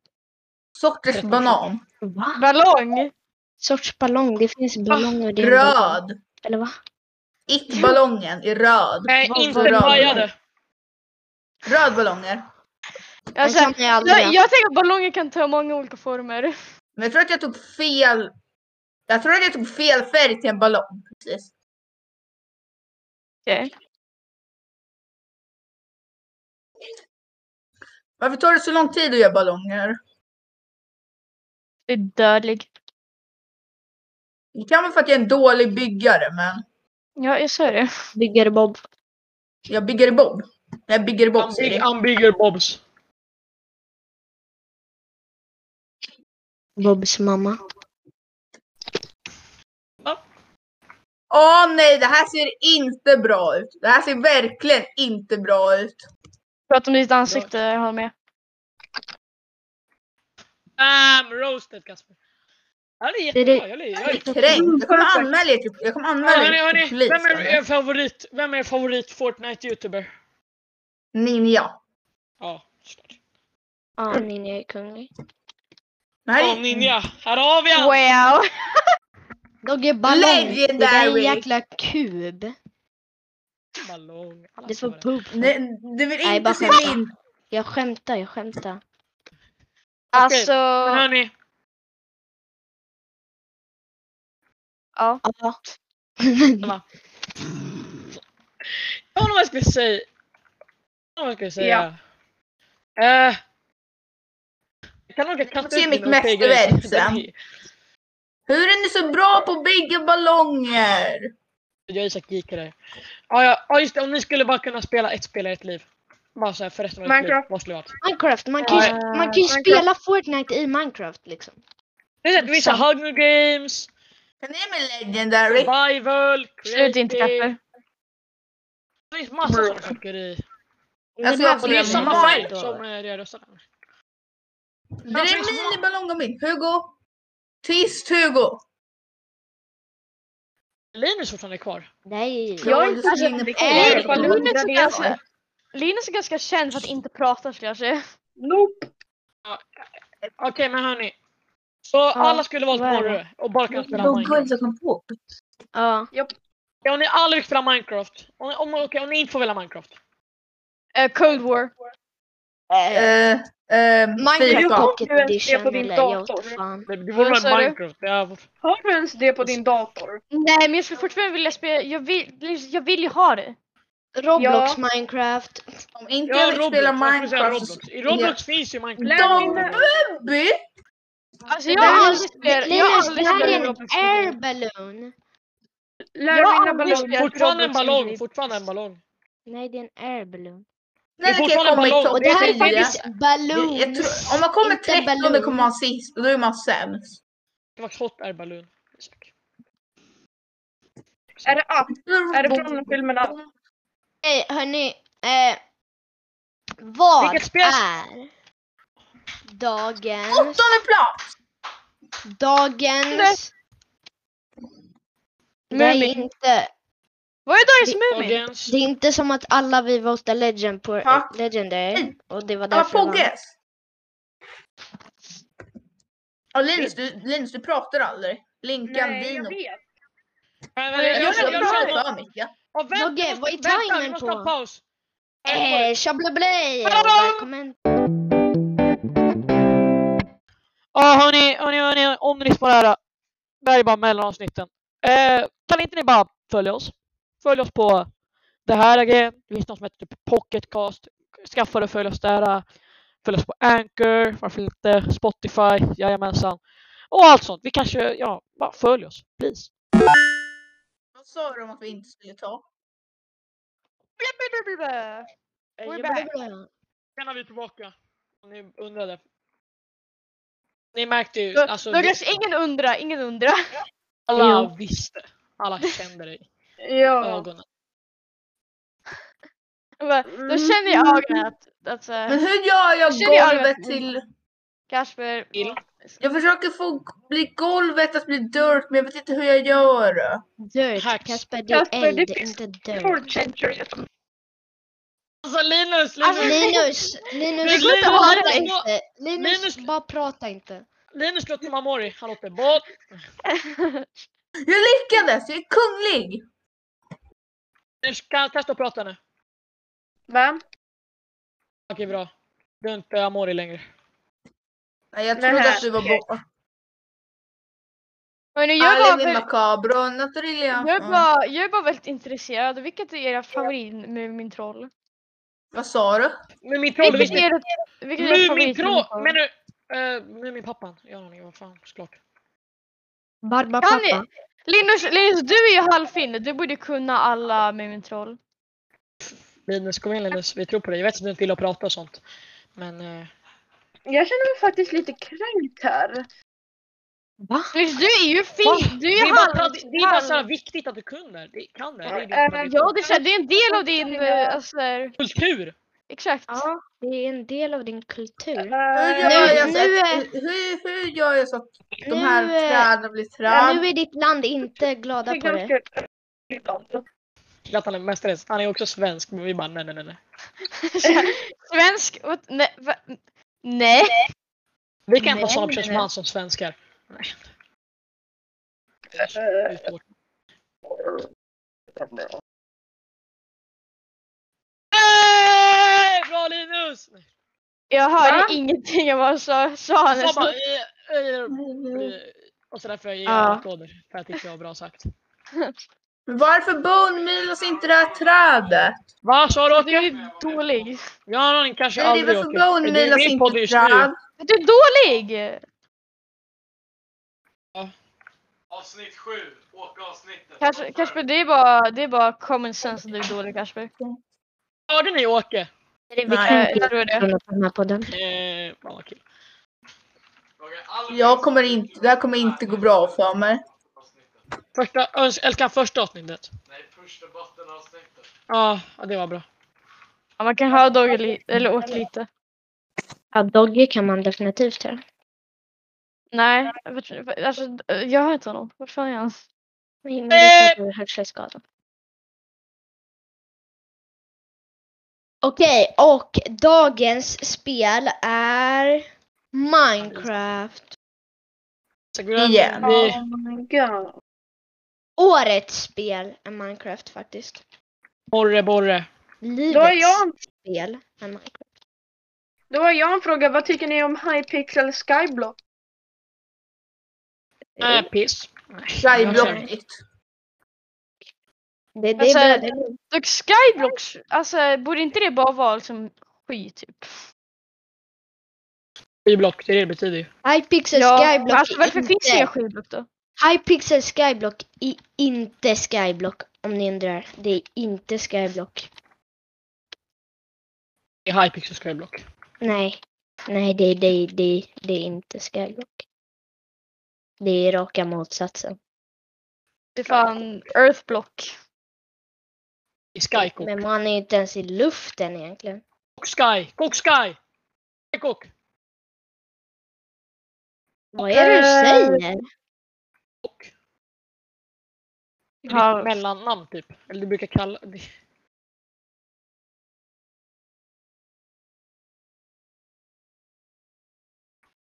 B: Sorters banan.
D: Va?
C: Ballong?
D: Sorts ballong. Det finns ballonger. det är en ballong.
B: Röd.
D: Eller va?
B: It-ballongen är röd.
A: Nej,
D: Vad
A: inte
D: var det?
A: bajade.
B: Röd ballonger.
C: Alltså,
D: Den kan jag aldrig
C: jag, jag tänker att ballonger kan ta många olika former.
B: Men jag tror att jag tog fel. Jag tror att jag tog fel färg till en ballong. Precis.
C: Okej.
B: Varför tar det så lång tid att göra ballonger?
C: Det är dödlig.
B: Det kan vara för att jag är en dålig byggare, men
C: Ja, jag sa det.
D: bygger Bob.
B: jag bygger i bob. Jag bygger i bob,
A: Han
B: säger
A: bygger-
B: jag.
A: Han bygger Bobs.
D: Bobs mamma.
B: Åh nej, det här ser inte bra ut. Det här ser verkligen inte bra ut.
C: Prata om ditt ansikte, jag håller med.
A: Bam! Ehm, Roasted Kasper. Ja, det är
D: Det är
A: jättebra. Jag, jag,
B: Jag är
A: jag,
B: kränkt. Jag kommer anmäla er till, jag kommer anmäla
A: hörni,
B: er
A: hörni,
B: till polisen.
A: vem är er favorit, vem är er favorit Fortnite-youtuber?
B: Ninja.
A: Ja, såklart.
D: Ja, Ninja är kunglig.
B: Det här
A: Ja,
B: är
A: Ninja. Här har vi han!
C: Wow!
D: Dogge ballong. Det där är en
B: Legendary.
D: jäkla kub.
A: Ballong. Alla
D: Det
A: ska
D: får
A: vara det.
D: poop.
B: Nej, du vill
D: Nej,
B: inte
D: bara
B: se
D: skämta.
B: min...
D: Jag skämtar, jag skämtar.
C: Alltså,
A: Men hörni,
C: ja.
D: Ja.
A: jag undrar vad jag skulle säga. Jag undrar vad jag skulle säga. Ja. jag kan nog inte kasta
B: Se
A: ut
B: mitt
A: mina fegare
B: mästerverk
A: som-
B: sen. Hur är ni så bra på att bygga ballonger?
A: Jag är Isak Geekare. Ja, ja, ja, just det. Om ni skulle bara kunna spela ett spel i ett liv. Bara så här för resten av ert liv.
E: Minecraft.
A: Vad skulle det vara?
D: Minecraft. Man kan ju, man kan ju
E: Minecraft.
D: spela Fortnite i Minecraft liksom.
A: Det är så att vissa
D: Sant.
A: Hunger Games,
B: Kan ni ge mig legendary?
A: Survival,
C: Slut inte
A: Creative.
C: Kasper.
A: Det finns massor sådana saker i.
B: Alltså,
D: beror
B: jag
D: på
A: Och det är
B: Mm.
A: samma
D: man-
A: färg som eh, det jag röstade.
B: Det är en miniballong av min. Hugo! Tyst Hugo!
A: Linus fortfarande är kvar.
D: Nej.
B: Jag är inte
C: alltså,
B: så inne på
C: Nej,
B: det.
C: men
E: Linus
C: Linus är
E: är
C: ganska- Linus är ganska känd för att inte prata skulle jag säga.
E: nope.
A: Okej, men hörni. Så alla skulle valt
D: vad är det?
A: Morre och bara kunna spela Minecraft.
D: Ja.
A: Ja, om ni aldrig fick spela Minecraft. Om, om, okej, om ni inte får välja Minecraft.
C: Eh, Cold War.
B: Eh, eh,
D: Minecraft
E: du
B: FIFA.
E: har
D: Pocket
E: ju ens det
D: Edition
E: på din
D: eller jag
E: dator.
D: vet fan.
A: Det, det
C: Vad
A: borde
C: sa
A: vara
C: du?
A: Minecraft. Det är,
E: Har du ens det på din dator?
C: Nej men jag skulle fortfarande vilja spela, jag vill, Linus, jag vill ju ha det.
D: Roblox, Minecraft.
B: Om inte
A: ja,
B: jag fick
A: Roblox.
B: spela
A: jag skulle säga
B: Minecraft
A: Roblox. I Roblox finns ju Minecraft.
B: Dom
E: Lämna.
B: Bubby!
C: Alltså jag har aldrig spelat, jag har
D: Linus, det
C: aldrig
D: här
C: spelat
D: är
C: Roblox.
D: en air balloon.
E: Lär
C: Jag har
E: mina
C: aldrig
E: ballonger.
C: spelat
A: Fortfarande en
C: Roblox i mitt
A: ballong.
C: liv.
A: Fortfarande en ballong.
D: Nej, det är en air balloon.
B: Nej,
A: Det är
B: det kan
A: fortfarande
B: komma i
A: ballong.
B: topp
D: Och det här är
B: 10.
D: faktiskt
B: Jag- jag
D: balloons.
B: tror- Om man kommer
D: inte
B: 13
D: ballong.
B: kommer man sist och då är man sämst.
A: Det var hot air balloon. Isak.
E: Är det app? Är det från filmen app?
D: Nej, hörni. Eh, vad
A: Vilket spel-
D: är dagens,
B: Åttonde plats!
D: dagens... Nej,
C: Mumin.
D: inte.
C: Vad är dagens Mumin?
A: Dagens.
D: Det är inte som att alla vi votade legend på
B: Ha.
D: Legendary. Och det var
B: Ja,
D: därför jag vann.
B: Pogges! Ja, Linus, du, Linus, du pratar aldrig. Linkan,
E: Nej, jag
B: Dino.
E: vet.
A: Jag
B: Jag
A: Äh, jag- jag-
B: jag
A: jag-
B: pratar mycket.
A: Ja, vänta,
D: Dogge,
A: vi måste-
D: vad är
A: vänta, vi
D: timern
A: måste
D: på?
A: ha en paus.
D: Eh, tjablabli! och
A: Hallå!
D: Välkommen
A: Ja hörni, hörni, hörni, om ni lyssnar på det här. Det här är bara mellanavsnitten. Eh, kan inte ni bara följa oss? Följ oss på det här grejen. Det finns något som heter typ Pocketcast. Skaffa det och följ oss där. Följ oss på Anchor, varför inte? Spotify, jajamensan. Och allt sånt. Vi kanske, ja, bara följ oss. Please.
B: Vad sa de att vi inte skulle ta?
E: We're
A: Sen är vi tillbaka. Om ni undrade. Ni märkte ju,
C: Då,
A: alltså
C: då
A: vi,
C: kanske ingen undrar, ingen undrar.
A: alla visste. Alla kände det i
E: Ja.
A: ögonen.
C: Bara,
E: Mm.
C: Då känner jag ögonen att, att så
B: Men
C: här,
B: hur gör jag
C: Känner jag
B: golvet
C: ögat?
B: till...
C: Kasper...
A: Ill.
B: Jag försöker få bli golvet att bli dirt, men jag vet inte hur jag gör.
D: Dirt.
A: Hacks.
D: Casper, det
E: Casper,
D: är
E: det
D: eld,
E: finns-
D: inte dirt.
E: Food changer.
A: Alltså Linus, Linus,
C: Alltså,
D: Linus,
A: Det
D: Linus,
A: går inte att
D: prata
A: hålla-
D: inte. Linus,
A: Linus-
D: bara prata inte.
A: Linus låter Mamori. Han låter bort.
B: Jag lyckades! Jag är kunglig!
A: Linus kan testa att prata nu.
E: Va?
A: Okej bra. Du är inte Amori längre.
B: Nej, jag
E: Nej,
B: trodde att du var
E: okej.
B: borta.
C: Men nu gör bara,
B: Alla är
C: väl-
B: makabra, Natalia.
C: jag, är
B: Ja.
C: bara, jag är bara väldigt intresserad. Vilket är era favorit med min troll?
B: Vad sa du?
A: Men min troll,
C: Vilket
A: visst.
C: är ert- vilket är ert
A: Mumin
C: favorit?
A: troll.
C: Mumintroll?
A: Men nu. Uh, Muminpappan. Jag har ingen aning vad fan såklart.
C: Kan ni-
D: Barbapapa.
C: Linus, Linus, du är ju halvfinne. Du borde kunna alla Mumintroll.
A: Linus kom in Linus. Vi tror på dig. Jag vet att du inte vill prata och sånt. Men eh,
E: Jag känner mig faktiskt lite kränkt här.
C: Linus, du är ju
A: Va?
C: fin. Du
A: det
C: är
A: är
C: ju
A: bara,
C: halv...
A: pra- det är bara så här viktigt att du kan det. Det kan det. det, är din
C: Eh,
E: Äh,
A: favorit.
C: Ja, det är, så här, det är en del av din... eh, Alltså,
A: Kultur!
C: exakt.
D: Ja, det är en del av din kultur.
B: Hur
E: Äh,
B: gör,
D: Nu-
B: jag så
D: nu
B: att,
D: är-
B: hur, hur gör jag så att de
D: Nu,
B: här
D: eh,
B: träden blir
D: Ja,
B: träd?
D: nu är ditt land inte glada på det.
A: Zlatan är mästare. Han är också svensk, men vi bara nej, nej, nej, nej.
C: Svensk... och- Nej. va- Nej.
A: Vi kan
C: Nej,
A: ha sådana personer
C: nej.
A: som han som svenskar. Eh, Nej.
E: Eh,
A: Det är svårt. Nej! Bra Linus!
C: Jag hörde
E: Va?
C: ingenting av vad han sa. sa han
A: Jag
C: ens
A: bara,
C: något.
A: eh, eh, eh, och så därför jag ger
C: Ja.
A: alla applåder. För jag tyckte jag var bra sagt.
B: Men Varför bonmilas inte det här trädet?
A: Vad sa du?
C: Du är dålig.
A: Jag har någon kanske
B: Nej,
A: aldrig
B: varför
A: åker. Är du
B: bonmilas
A: med i podd
B: inte
A: just nu?
B: träd?
C: Du är dålig!
F: Avsnitt 7, åka-avsnittet.
C: Kasper, Kasper det, är bara, det är bara common sense att du är dålig Kasper.
A: Hörde ni Åke?
D: Det är
B: Nej.
C: Eh,
D: viktigt
C: jag tror
D: att
C: det.
D: kunna på den här podden.
A: Eh, fan vad kul.
F: Fråga Albin.
B: Jag kommer inte, det här kommer inte gå bra för mig.
F: Avsnittet.
A: Första, öns- älskar första avsnittet.
F: Nej, första bottenavsnittet.
A: Ja, ja, det var bra.
C: Ja, man kan höra Dogge li- eller åt lite.
D: Ja, Dogge kan man definitivt göra.
C: Nej, jag vet- alltså, eh, jag hör inte honom. Vad fan är han?
D: Men det är för att du har hörselskada. Okej, och dagens spel är Minecraft.
A: Så glöm-
B: Igen.
A: vi-
E: oh
D: Årets spel är Minecraft faktiskt.
A: Borre, borre.
D: Livets
E: Då har, jag,
D: spel är Minecraft.
E: då har jag en fråga. Vad tycker ni om Hypixel Skyblock?
A: Nej, piss.
B: Skyblock nytt.
D: Det, det
C: Alltså,
D: är bra. det är-
C: Dock Skyblocks, alltså borde inte det bara vara liksom skit typ?
A: Skyblock, det är det det betyder ju.
D: Hypixel Typ Skyblock
C: alltså,
D: är
C: varför finns det inga
D: inte...
C: skyblock då?
D: Hypixel Skyblock är inte Skyblock om ni undrar. Det är inte Skyblock.
A: Det är Hypixel skyblock.
D: Nej. Nej, det, det, det, det är inte Skyblock. Det är raka motsatsen.
C: Det är fan Earthblock.
A: I Sky Cook.
D: Men man är inte ens i luften egentligen.
A: Cook Sky! Cook Sky! Sky Cook!
D: Vad är det du
E: Eh,
D: säger?
A: Cook. Det är
C: Ja.
A: ditt mellannamn typ. Eller du brukar kalla det.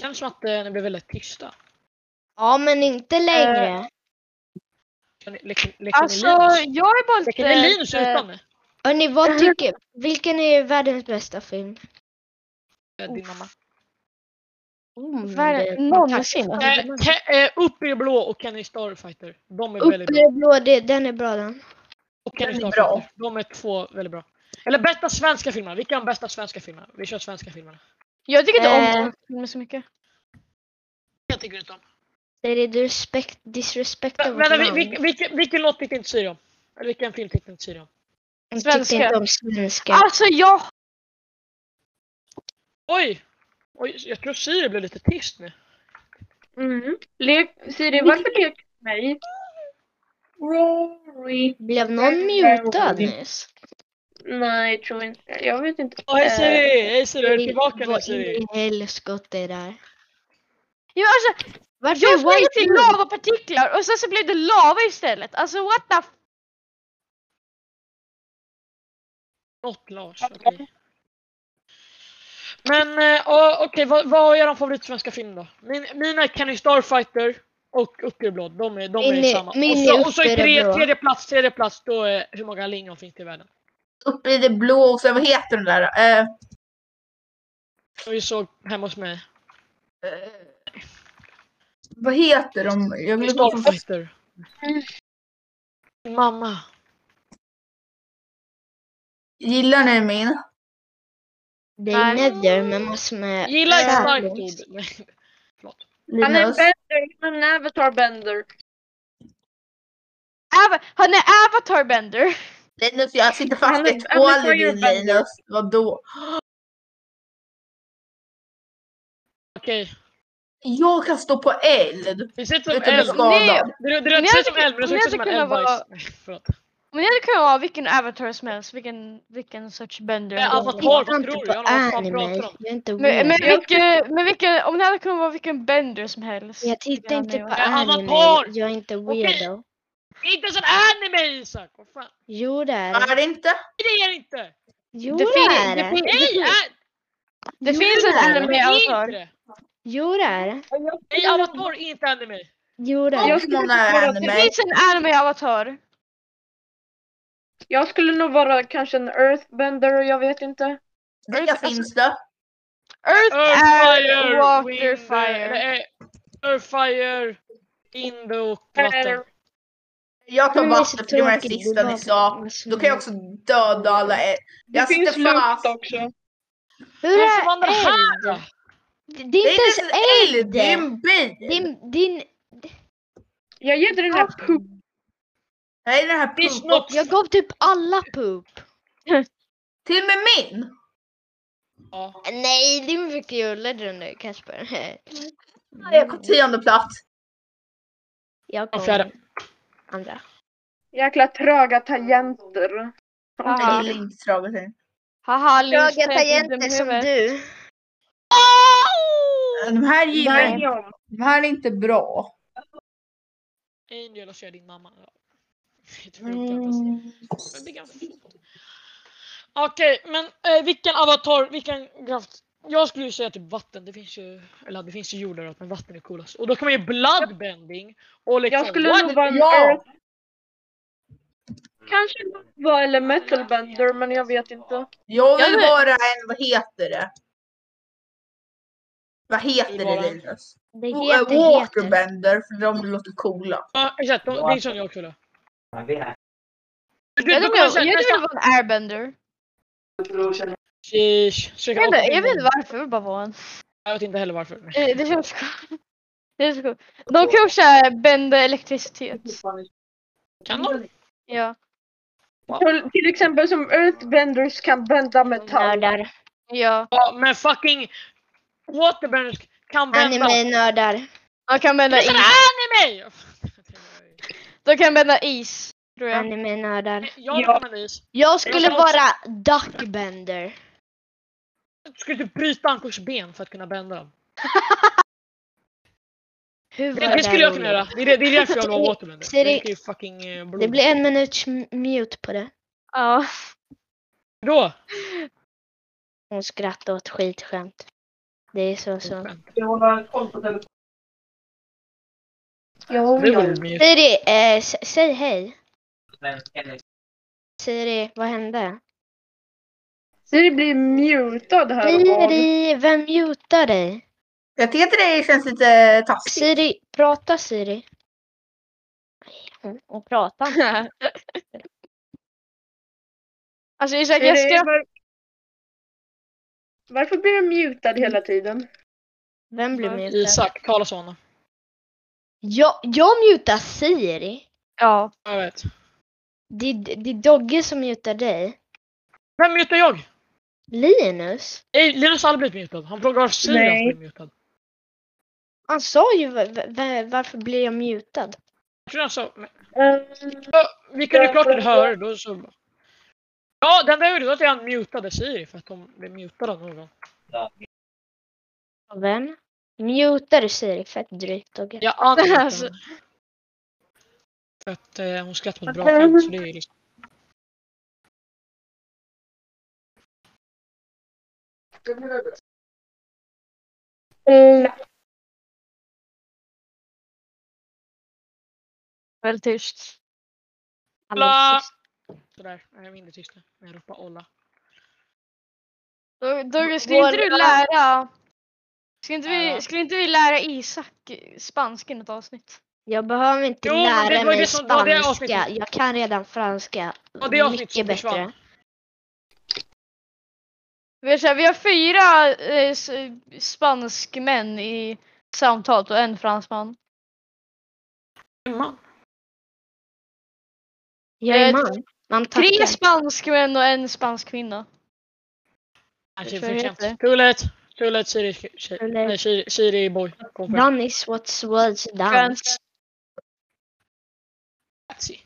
A: känns som att eh, ni blev väldigt tysta.
D: Ja, men inte längre.
A: Kan ni- Leker leker ni
C: Alltså
A: Linus?
C: jag är bara lite...
A: Leker ni Linus
C: eh,
A: utan mig?
D: Hörni, vad tycker... Vilken är världens bästa film?
A: Eh, Din mamma.
D: Mm,
C: Värre
D: det-
C: än någonsin.
D: tack.
A: Eh, Ke- eh, Upp i blå och Kenny Starfighter. De är
D: Upp i
A: väldigt bra.
D: det blå, det, den är bra den.
A: Och Kenny
B: Den är
A: Starfighter.
B: bra.
A: De är två väldigt bra. Eller bästa svenska filmerna. Vilka är de bästa svenska filmerna? Vi kör svenska filmerna.
C: Jag tycker inte
D: Eh.
C: om Tornfilmer så mycket.
A: Jag tycker inte om.
D: Det är disrespect, disrespect av vårt
A: Vänta, vi,
D: land.
A: vi, vilken, vilken låt tyckte inte Syrien? Eller vilken film tyckte inte Syrien?
D: Jag tyckte
C: svenska.
D: inte om svenska.
C: Alltså jag
A: Oj! Oj, jag tror Syrien blev lite tyst nu.
E: Mm. Lek, Siri,
C: Mm.
E: varför leker du med mig?
B: Rory.
D: Blev någon mutad nyss?
E: Nej, jag tror inte. Jag vet inte.
A: Åh, hej
E: Eh,
A: Siri! Hej Siri, är du tillbaka nu
D: Vad
A: Siri?
D: i helskotta är det här?
C: Ja, alltså,
D: Varför
C: jag
D: white
C: sprang till
D: room?
C: lavapartiklar och sen så blev det lava istället. Alltså what the f...
A: Något Lars, okej. Men eh, ja, okej, vad, vad är eran favoritsvenska film då? Min, mina är Kenny Starfighter och Uckerblad, de är, de är
D: Min är-
A: samma.
D: min
A: och så,
D: är
A: och så i
D: Uckerblad.
A: tre, tredje plats, tredje plats, då är hur många lingon finns det i världen?
B: Uppe i det blå och så, vad heter den där? Eh,
A: Som vi såg hemma hos mig.
B: eh, vad heter de? Jag
A: Kenny
B: glömde vad de-
A: Starfighter. Min mamma.
B: Gillar ni min?
D: Det
C: Nej.
D: är nether men massor med...
A: Gillar ett
D: Sad
A: starkt
D: looks.
A: ord. Nej.
E: Han är
B: Linus?
E: Bender, han är en avatar Bender.
C: Ava- han är avatar bender.
B: Linus, jag sitter fast
E: Han är-
B: i
E: han är
B: tvålen i
E: firebender.
B: Linus. Vadå?
A: Okej,
B: Jag kan stå på eld.
A: det ser ut som
B: Utan att
A: eld.
B: bli
C: Nej,
B: skadad.
A: Det, det, det ser
C: hade
A: ut som
C: kun-
A: eld, men det ser
C: om jag
A: ut
C: hade
A: som en
C: kunnat
A: eldbajs.
C: vara-
A: Nej, förlåt.
C: Men det kan vara vilken avatar som helst, vilken, vilken sorts bender.
A: Men
C: ändå.
A: avatar,
D: Jag
A: vad
D: inte
A: tror du?
D: på
A: Jag har fan
D: anime.
A: pratat om.
D: Jag är inte
C: Men, men,
D: weird.
C: vilken, men vilken, om det hade kunnat vara vilken bender som helst.
D: Jag tittar inte på
A: Men
D: anime.
A: avatar!
D: Jag är inte
A: Okej.
D: weirdo.
A: Det är inte ens en anime Isak! Vad fan?
D: Jo det är det.
B: Är det inte?
A: Nej, det är det inte!
D: Jo
C: det
D: det
C: fin-
D: är
C: det
D: det.
C: fin-
A: Nej! Ä-
C: Det
B: Jo,
C: finns
B: det är det.
C: en
A: det
C: anime
A: är inte
C: avatar.
A: det!
D: Jo det är det.
A: Nej, Avatar är inte anime!
D: Jo det är det.
E: Jag skulle,
B: Pokémon
E: nog
B: är
E: vara,
C: Det
B: anime.
C: finns en anime avatar.
E: jag skulle nog vara kanske en earthbender, jag vet inte.
B: Vilka finns det?
C: Earth, air,
A: Earthfire!
C: water,
A: wind,
C: fire.
A: eh, Earthfire, Indo och vatten.
B: Jag tar
D: Men det är så
B: vatten för det var det
D: tråkigt,
B: sista
D: bara-
B: ni sa. Då kan jag också döda alla eld.
E: Det
B: Jag
E: finns
B: sitter fast.
E: luft också.
D: Hur
A: Vem som
D: är
A: vandrar här
D: eld?
A: då?
D: Det det
B: Det
D: är
B: är inte ens en eld,
D: eld!
B: det är en bil.
D: Din, din,
E: Jag ger dig den här puck.
B: Nej, den här
A: Det är
B: pulpot.
A: snopp!
D: jag gav typ alla poop.
B: Till och med min.
A: Ja.
D: Nej, din fick ju ulludden nu Kasper.
B: Jag kom tionde plats.
D: Jag
A: Ja,
D: kom
A: fjärde.
D: andra.
E: Jäkla tröga tangenter.
C: Haha.
B: Det är inte så bra att säga.
C: Haha, Linus
D: Höga
C: tänker
D: tangenter
C: dum i
D: som
C: huvudet.
D: du.
B: De här gillar jag inte.
E: Nej.
B: De här är inte bra.
A: Angel och så är din mamma. Ja. Jag tror inte jag passar.
C: Mm.
A: Men det är ganska fint. Okej, men eh, vilken avatar, vilken kraft? Jag skulle ju säga typ vatten, det finns ju, eller det finns ju jord överallt men vatten är coolast. Och då kan man ju bloodbending och liksom
E: Jag skulle
A: what?
E: nog vara en
B: Ja.
E: earth... Kanske vara elementalbender, men jag vet inte.
B: Jag
C: Jag
B: vill
C: vet.
B: vara en, vad heter det? Vad heter
A: Vill vara
B: det
A: en-
B: Linus?
D: Det
B: Och,
D: heter,
B: eh,
D: heter.
B: Walkerbender, för de låter coola.
A: Ja, exakt. De, det är sån jag också då. Du,
C: Jag
A: du
C: vet
A: kommer
C: inte,
A: säga
C: jag
A: nästan...
C: vill vara en airbender.
A: Sheesh. Försöka
C: Jag vet
A: återfinna den.
C: inte, jag vet inte varför, jag vill bara vara en.
A: Jag vet inte heller varför.
C: Eh, Det känns coolt. Det känns coolt. De kan också eh, bända elektricitet.
D: Mm.
A: Kan de?
C: Ja.
E: Till- Till exempel som earthbenders kan bända metall.
D: Nördar.
C: Ja.
A: Ja, men fucking Waterbenders kan vända. Anime!
D: Anime-nördar.
C: De kan bända
A: Det är en
C: is.
A: anime!
C: De kan bända is. Tror jag.
D: Anime-nördar.
A: Jag vill vara en is.
D: Jag skulle
A: Jag kan också-
D: vara duckbender.
A: Du skulle typ bryta ankors ben för att kunna bända dem.
D: Hur var
A: Det, det skulle jag kunna
D: roligt?
A: göra. Det är, det är därför jag vill vara Waterbender.
D: Ser det-
A: Det är ju fucking eh, blod.
D: Det blir en minuts m- mute på det.
C: Ja.
A: Då?
D: Hon skrattar åt skitskämt. Det är så så.
E: Jo,
A: Det
E: jo.
A: vore mysigt.
D: Siri, eh, s- säg hej. Siri, vad hände?
E: Siri blir mutad här och var.
D: Siri, vem mutar dig?
B: Jag tycker det känns lite taskigt.
D: Siri, prata Siri. Hon, hon pratar inte.
C: Alltså Isak, jag
E: Siri,
C: skrattar.
E: var- Varför blir du mutad hela tiden?
D: Vem blir mutad?
A: Isak Karlsson.
D: Jag, jag mutar Siri.
C: Ja.
A: Jag vet.
D: Det, är- det är Dogge som mutar dig.
A: Vem mutar jag?
D: Linus?
A: Nej, Linus har aldrig blivit mutad. Han frågar varför Siri
E: Nej.
A: har blivit mutad.
D: Han sa ju va- va- va- varför blir jag mutad?
A: Jag tror han sa... men- Ja, vi kunde ju klart höra det, då så... Ja, den där gjorde att jag mutade Siri för att de blev mutade av någon.
D: Av Vem? Mutar du Siri? Fett drygt Dogge.
A: Jag anmutade
C: Alltså.
A: henne. För att eh, hon skrattade på ett bra skämt så det är ju liksom...
C: Väldigt tyst.
A: Ola!
D: Alldeles sist.
A: Sådär, jag är mindre tyst nu. när Jag ropar Olla.
C: Då, då ska
D: Vår-
C: inte du lära... Ska inte
A: Lära.
C: vi, skulle inte vi lära Isak spanska i något avsnitt?
D: Jag behöver inte
A: Jo, men det
D: lära
A: var ju
D: mig
A: det som- det var det
D: spanska.
A: avsnittet.
D: Jag kan redan franska.
A: Ja, det avsnittet
D: Mycket
A: som försvann.
D: bättre.
C: Vi har, så här, vi har fyra eh, s- spanskmän i samtalet och en fransman.
A: Femman?
D: Jag är
C: Eh,
D: man. Man
C: Tre
D: tackar.
C: spanskmän och en spansk kvinna.
A: Nej,
C: tror
A: typ
C: jag
A: för
C: heter det.
A: skämt. Tullet! Tullet, Siri... Siri-
D: Tullet.
A: Nej, Siri- Siri boy. Kom för
D: Done is what's words done.
C: Fransk.
A: Patsy.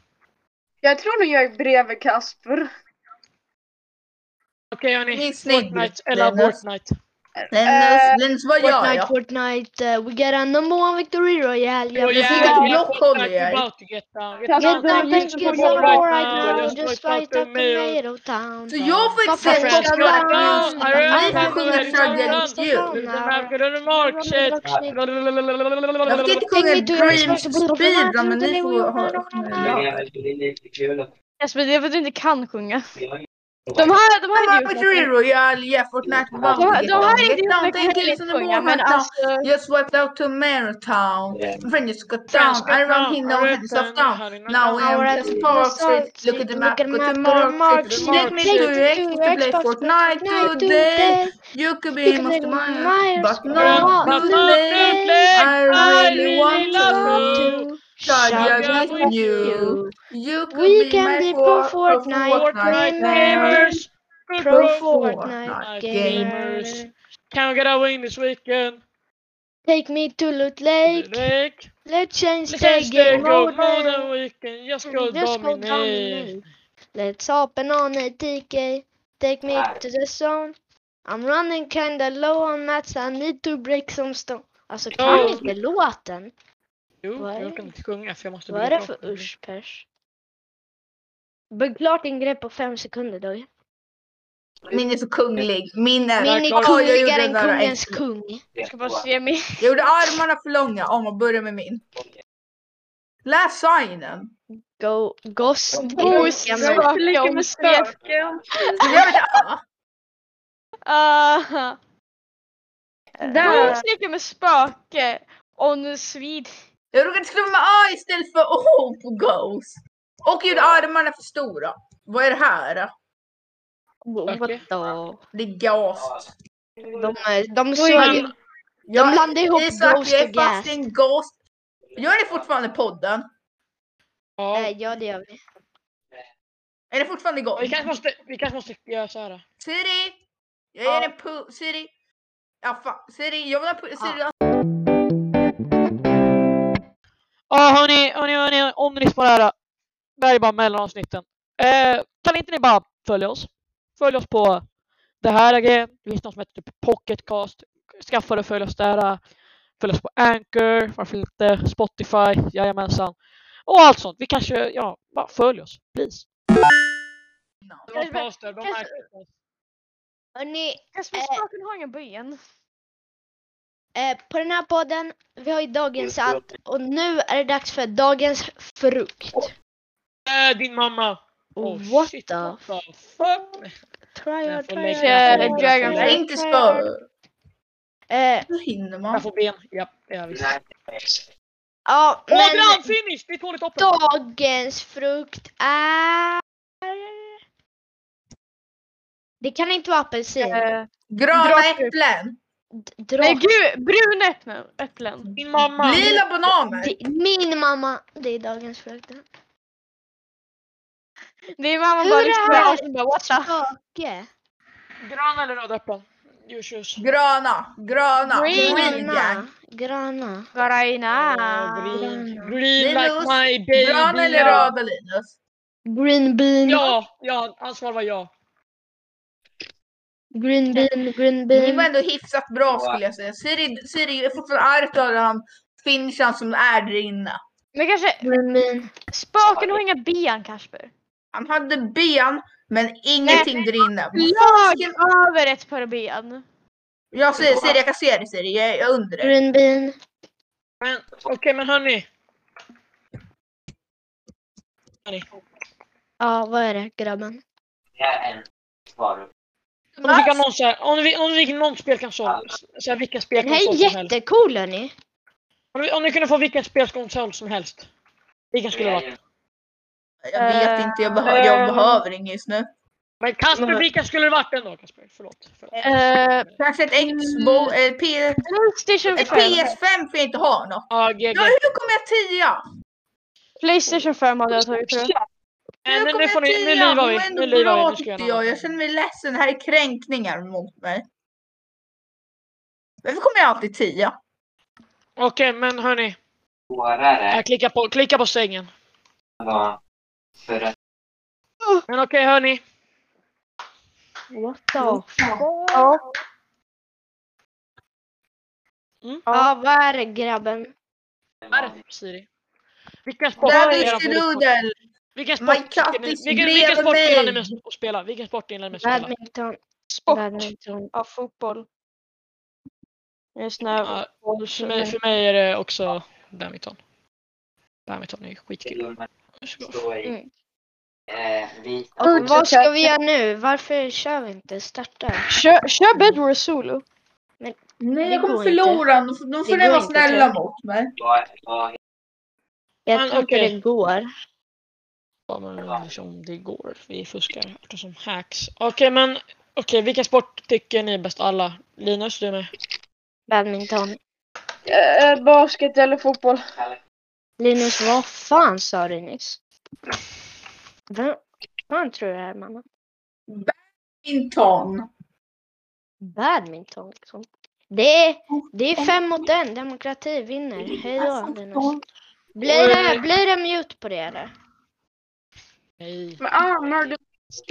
E: Jag tror nog jag är bredvid Kasper.
A: Okej hörni,
B: Minskning.
A: Fortnite eller
B: Linus.
A: Fortnite.
E: Eh,
B: Linus, Linus vad gör
D: Fortnite,
B: jag?
D: Fortnite, uh, we got a number one victory royale.
A: You're
D: Yeah,
B: yeah.
D: yeah.
B: Blockhåller jag.
A: about to get down. Get
E: Jag
D: Get
A: down.
D: down,
E: Just
D: thank
A: support
D: you
A: right
D: so much right
A: now,
D: now.
A: just
D: Just
A: like
D: fight a
A: Dr. Mill.
D: tomato town.
B: Så jag får inte
D: Varför
B: säga
D: Fortnite,
A: Fortnite, get
D: Fortnite,
B: Fortnite.
A: down. I run,
B: Nej,
A: I'm
B: sjunger
A: ready to
B: Fröken
A: run.
B: Stil.
A: You do not get any mark, shit.
B: Jag fick inte sjunga Dreams Speedrun men ni får ha...
G: Ja, det är lite kul att
C: Jasper, det är för att du inte kan sjunga.
G: vi har ju-
C: De här, de här
B: Mamma
C: är
B: med
C: idioter.
B: Ferrero, jag ger Fortnite på
C: De här, de här är
B: Get down,
C: idioterna kan
B: thank
C: heller
B: you,
C: inte
B: son of
C: sjunga, men
B: a
C: alltså...
B: Just wiped out to Marotown.
G: Yeah.
B: When you got down, I run him down, hands off down. Now
D: Our
B: I'm just Park Street, look at the map, go to Park Street. Take me to your ex to play Fortnite today. You could be most of mine, but
A: Run, but
B: not today. I really want
A: love
B: to.
A: you.
B: Shall
A: with
B: you. You
D: We
B: could be
D: can
B: my
D: be
B: for
D: pro
B: for
D: Fortnite
A: Fortnite
B: Fortnite gamer.
A: gamers! Good
D: Pro
A: bro.
D: Fortnite gamers.
A: gamers. Can we get a win this weekend?
D: Take me to Loot Lake.
A: Lake.
D: Let's change the
A: Let's
D: game
A: take
D: mode.
A: out more than we can. Just go
D: Just go
A: dominate.
D: dominate. Let's open on a TK. Take me
G: Nej.
D: to the zone. I'm running kinda low on mats. I need to break some stone. Alltså kan
A: Ja.
D: inte låten.
A: Jo,
D: Vad är
A: jag
D: det?
A: kan inte sjunga för jag måste
D: Vad är
A: bli
D: det för
A: bra.
D: urspers? Bygg klart din grej på fem sekunder då.
B: Min är så kunglig. Min är...
D: Min är
B: Oj, jag gjorde
D: kungligare
B: den
D: än
B: där
D: kungens
B: äckligt.
D: kung.
C: Jag ska bara se mig.
B: Jag gjorde armarna för långa. Om man börjar med min. Läs signen.
D: Go, ghost.
C: Ghost,
D: Ja, men-
C: spöka om Stefan.
B: Jag vet inte.
C: Ah.
E: Där.
C: Ghost leker med spöke. On svid.
B: Jag råkade skriva med A istället för O på Ghost. Och gjorde armarna för stora. Vad är det här?
D: What
A: Okej.
D: the?
B: Det är gas.
D: De, är- de
A: Men-
D: såg...
B: Jag-
D: blandar ihop
B: Isak,
D: Ghost
B: jag är
D: och
B: fast i
D: Gas.
B: en Ghost. Gör ni fortfarande podden?
A: Ja,
D: eh, Ja, det gör vi.
B: Är det fortfarande Ghost?
A: vi kanske måste, vi kanske måste göra så här.
B: Siri! Jag ger en pull. Siri! Ja, fan. Siri, jag vill ha en pull. Siri,
A: Ja hörni, hörni, hörni, om ni lyssnar på det här. Det här är bara mellanavsnitten. Eh, kan inte ni bara följa oss? Följ oss på det här är grejen. Det finns något som heter typ Pocketcast. Skaffa det och följ oss där. Följ oss på Anchor, varför inte? Spotify, jajamensan. Och allt sånt. Vi kanske, ja, bara följ oss. Please. Det var poster, de
C: kanske-
A: märkte oss.
D: Hörrni,
C: Kasper,
D: Eh.
C: spöken har inga ben.
D: eh, på den här podden, vi har ju dagens allt och nu är det dags för dagens frukt.
A: Eh, din mamma. Oh,
D: What
A: shit,
D: the
A: what the fuck?
D: Try
A: Jag
D: or
A: får
D: try
A: lägga-
D: or-
C: Eh,
B: jag
C: Dragon
B: är
C: Fruit.
B: inte spö.
D: Eh,
B: Hur hinner man?
A: Jag får ben. Ja, det är visst.
D: ja,
A: Åh,
D: men
A: grand finish! Det är tvåligt toppen.
D: dagens frukt är... Det kan inte vara apelsin.
C: Eh,
B: Gröna
C: Drakar.
B: äpplen.
D: D- Dra...
C: Nej gud, bruna äpplen. äpplen.
E: Min mamma.
B: Lila bananer.
D: Det- Min mamma, det är dagens frukt.
C: Det är mamma
D: Hur
C: bara
D: är
C: rycker
D: det
C: med
D: här?
C: halsen och bara what the?
D: Kake.
A: Gröna eller röda äpplen? You choose.
B: Gröna. Gröna.
C: Green.
B: Green jack.
D: Gröna. Gröna.
A: Ah,
C: Gröna.
A: green. green like
B: Linus,
A: my baby.
B: Gröna eller
A: ja.
B: röda Linus?
D: Green bean.
A: Ja, ja, hans svar var ja.
D: Green bean, green
B: Ni var
D: bean.
B: ändå hyfsat bra skulle jag säga. Siri, Siri är fortfarande argt över han finishan som är där inne.
C: Men kanske,
D: Green bean.
C: spaken har inga ben Kasper.
B: Han hade ben men ingenting där inne.
C: Lag över ett par ben.
B: Jag säger Siri, jag kan se dig Siri. Jag jag undrar.
D: Green bean.
A: Men okej, men hörni. Hörni,
D: Ja, vad är det grabben?
A: om du fick annonser, om du fick, om du fick någon spelkonsol, så här, vilken
D: Den här
A: spelkonsol
D: är
A: som helst.
D: jättecool hörni.
A: Om du, om du kunde få vilken spelkonsol som helst, vilken skulle det vara?
B: Jag vet inte, jag, behö- jag behöver ingen just nu.
A: Men Kasper, vilken skulle det varit ändå Kasper? Förlåt. förlåt.
B: Ehm.
C: Eh,
B: Kanske ett Xbox, ett, P-
C: Playstation
B: ett
C: 5.
B: PS5 för jag inte ha något.
A: Ja,
B: Ja,
A: GG.
B: hur kommer jag tia?
C: Playstation 5 hade jag tagit tror jag.
A: Äh,
B: Hur
A: nu,
B: kommer
A: nu får
B: jag
A: ni, nu
B: tia?
A: livar
B: Det var
A: vi. Nu
B: ändå
A: livar vi.
B: bra
A: Nu ska
B: tyckte
A: jag göra
B: jag. Jag
A: något.
B: känner mig ledsen, det här är kränkningar mot mig. Varför kommer jag alltid tia?
A: Okej, men hörni.
G: svårare
A: Jag klicka på, klicka på sängen.
G: var för att
A: Men okej hörni.
D: What the
C: Ja.
A: Mm.
D: Ja, vad är det grabben?
A: Här, Siri. Vilken sport
B: Där
A: är era
B: dyker
A: favoritsport?
B: Nudel!
A: Vilken
B: My
A: sport
B: cat
A: tycker ni-
B: is
A: vilken- vilken
B: bred
A: sport gillar ni
B: mig.
A: mest att spela? Vilken sport gillar ni mest att spela?
D: Badminton.
C: Sport.
D: Badminton.
C: Ja, fotboll. Just nu.
A: Ja, för, mig, för mig är det också badminton. Badminton är skitkul.
G: filmen
A: Det är så bra.
G: står i. Eh, vi
D: Vad ska vi göra nu? Varför kör vi inte? Starta.
C: Kör, kör Bedwars solo.
B: Nej,
D: Det
B: jag kommer
D: går inte.
B: förlora. Nu får- nu får
D: Det
B: ni
D: går
B: vara
D: inte,
B: snälla mot mig.
G: var, var
A: Men
D: Jag tror inte
A: okej.
D: det går.
A: Ja, men liksom, det går. Vi fuskar eftersom som hacks. Okej men okej vilken sport tycker ni är bäst alla? Linus du är med.
D: Badminton.
E: Eh, basket eller fotboll.
D: Linus, vad fan sa du nyss? Vem fan tror du det är mamma?
B: Inton.
D: Badminton liksom. Det är, det är fem mot en, demokrati vinner. Hej då Linus. Blir det, blir det mute på det eller?
A: Nej.
E: Men ah, murder
A: Det är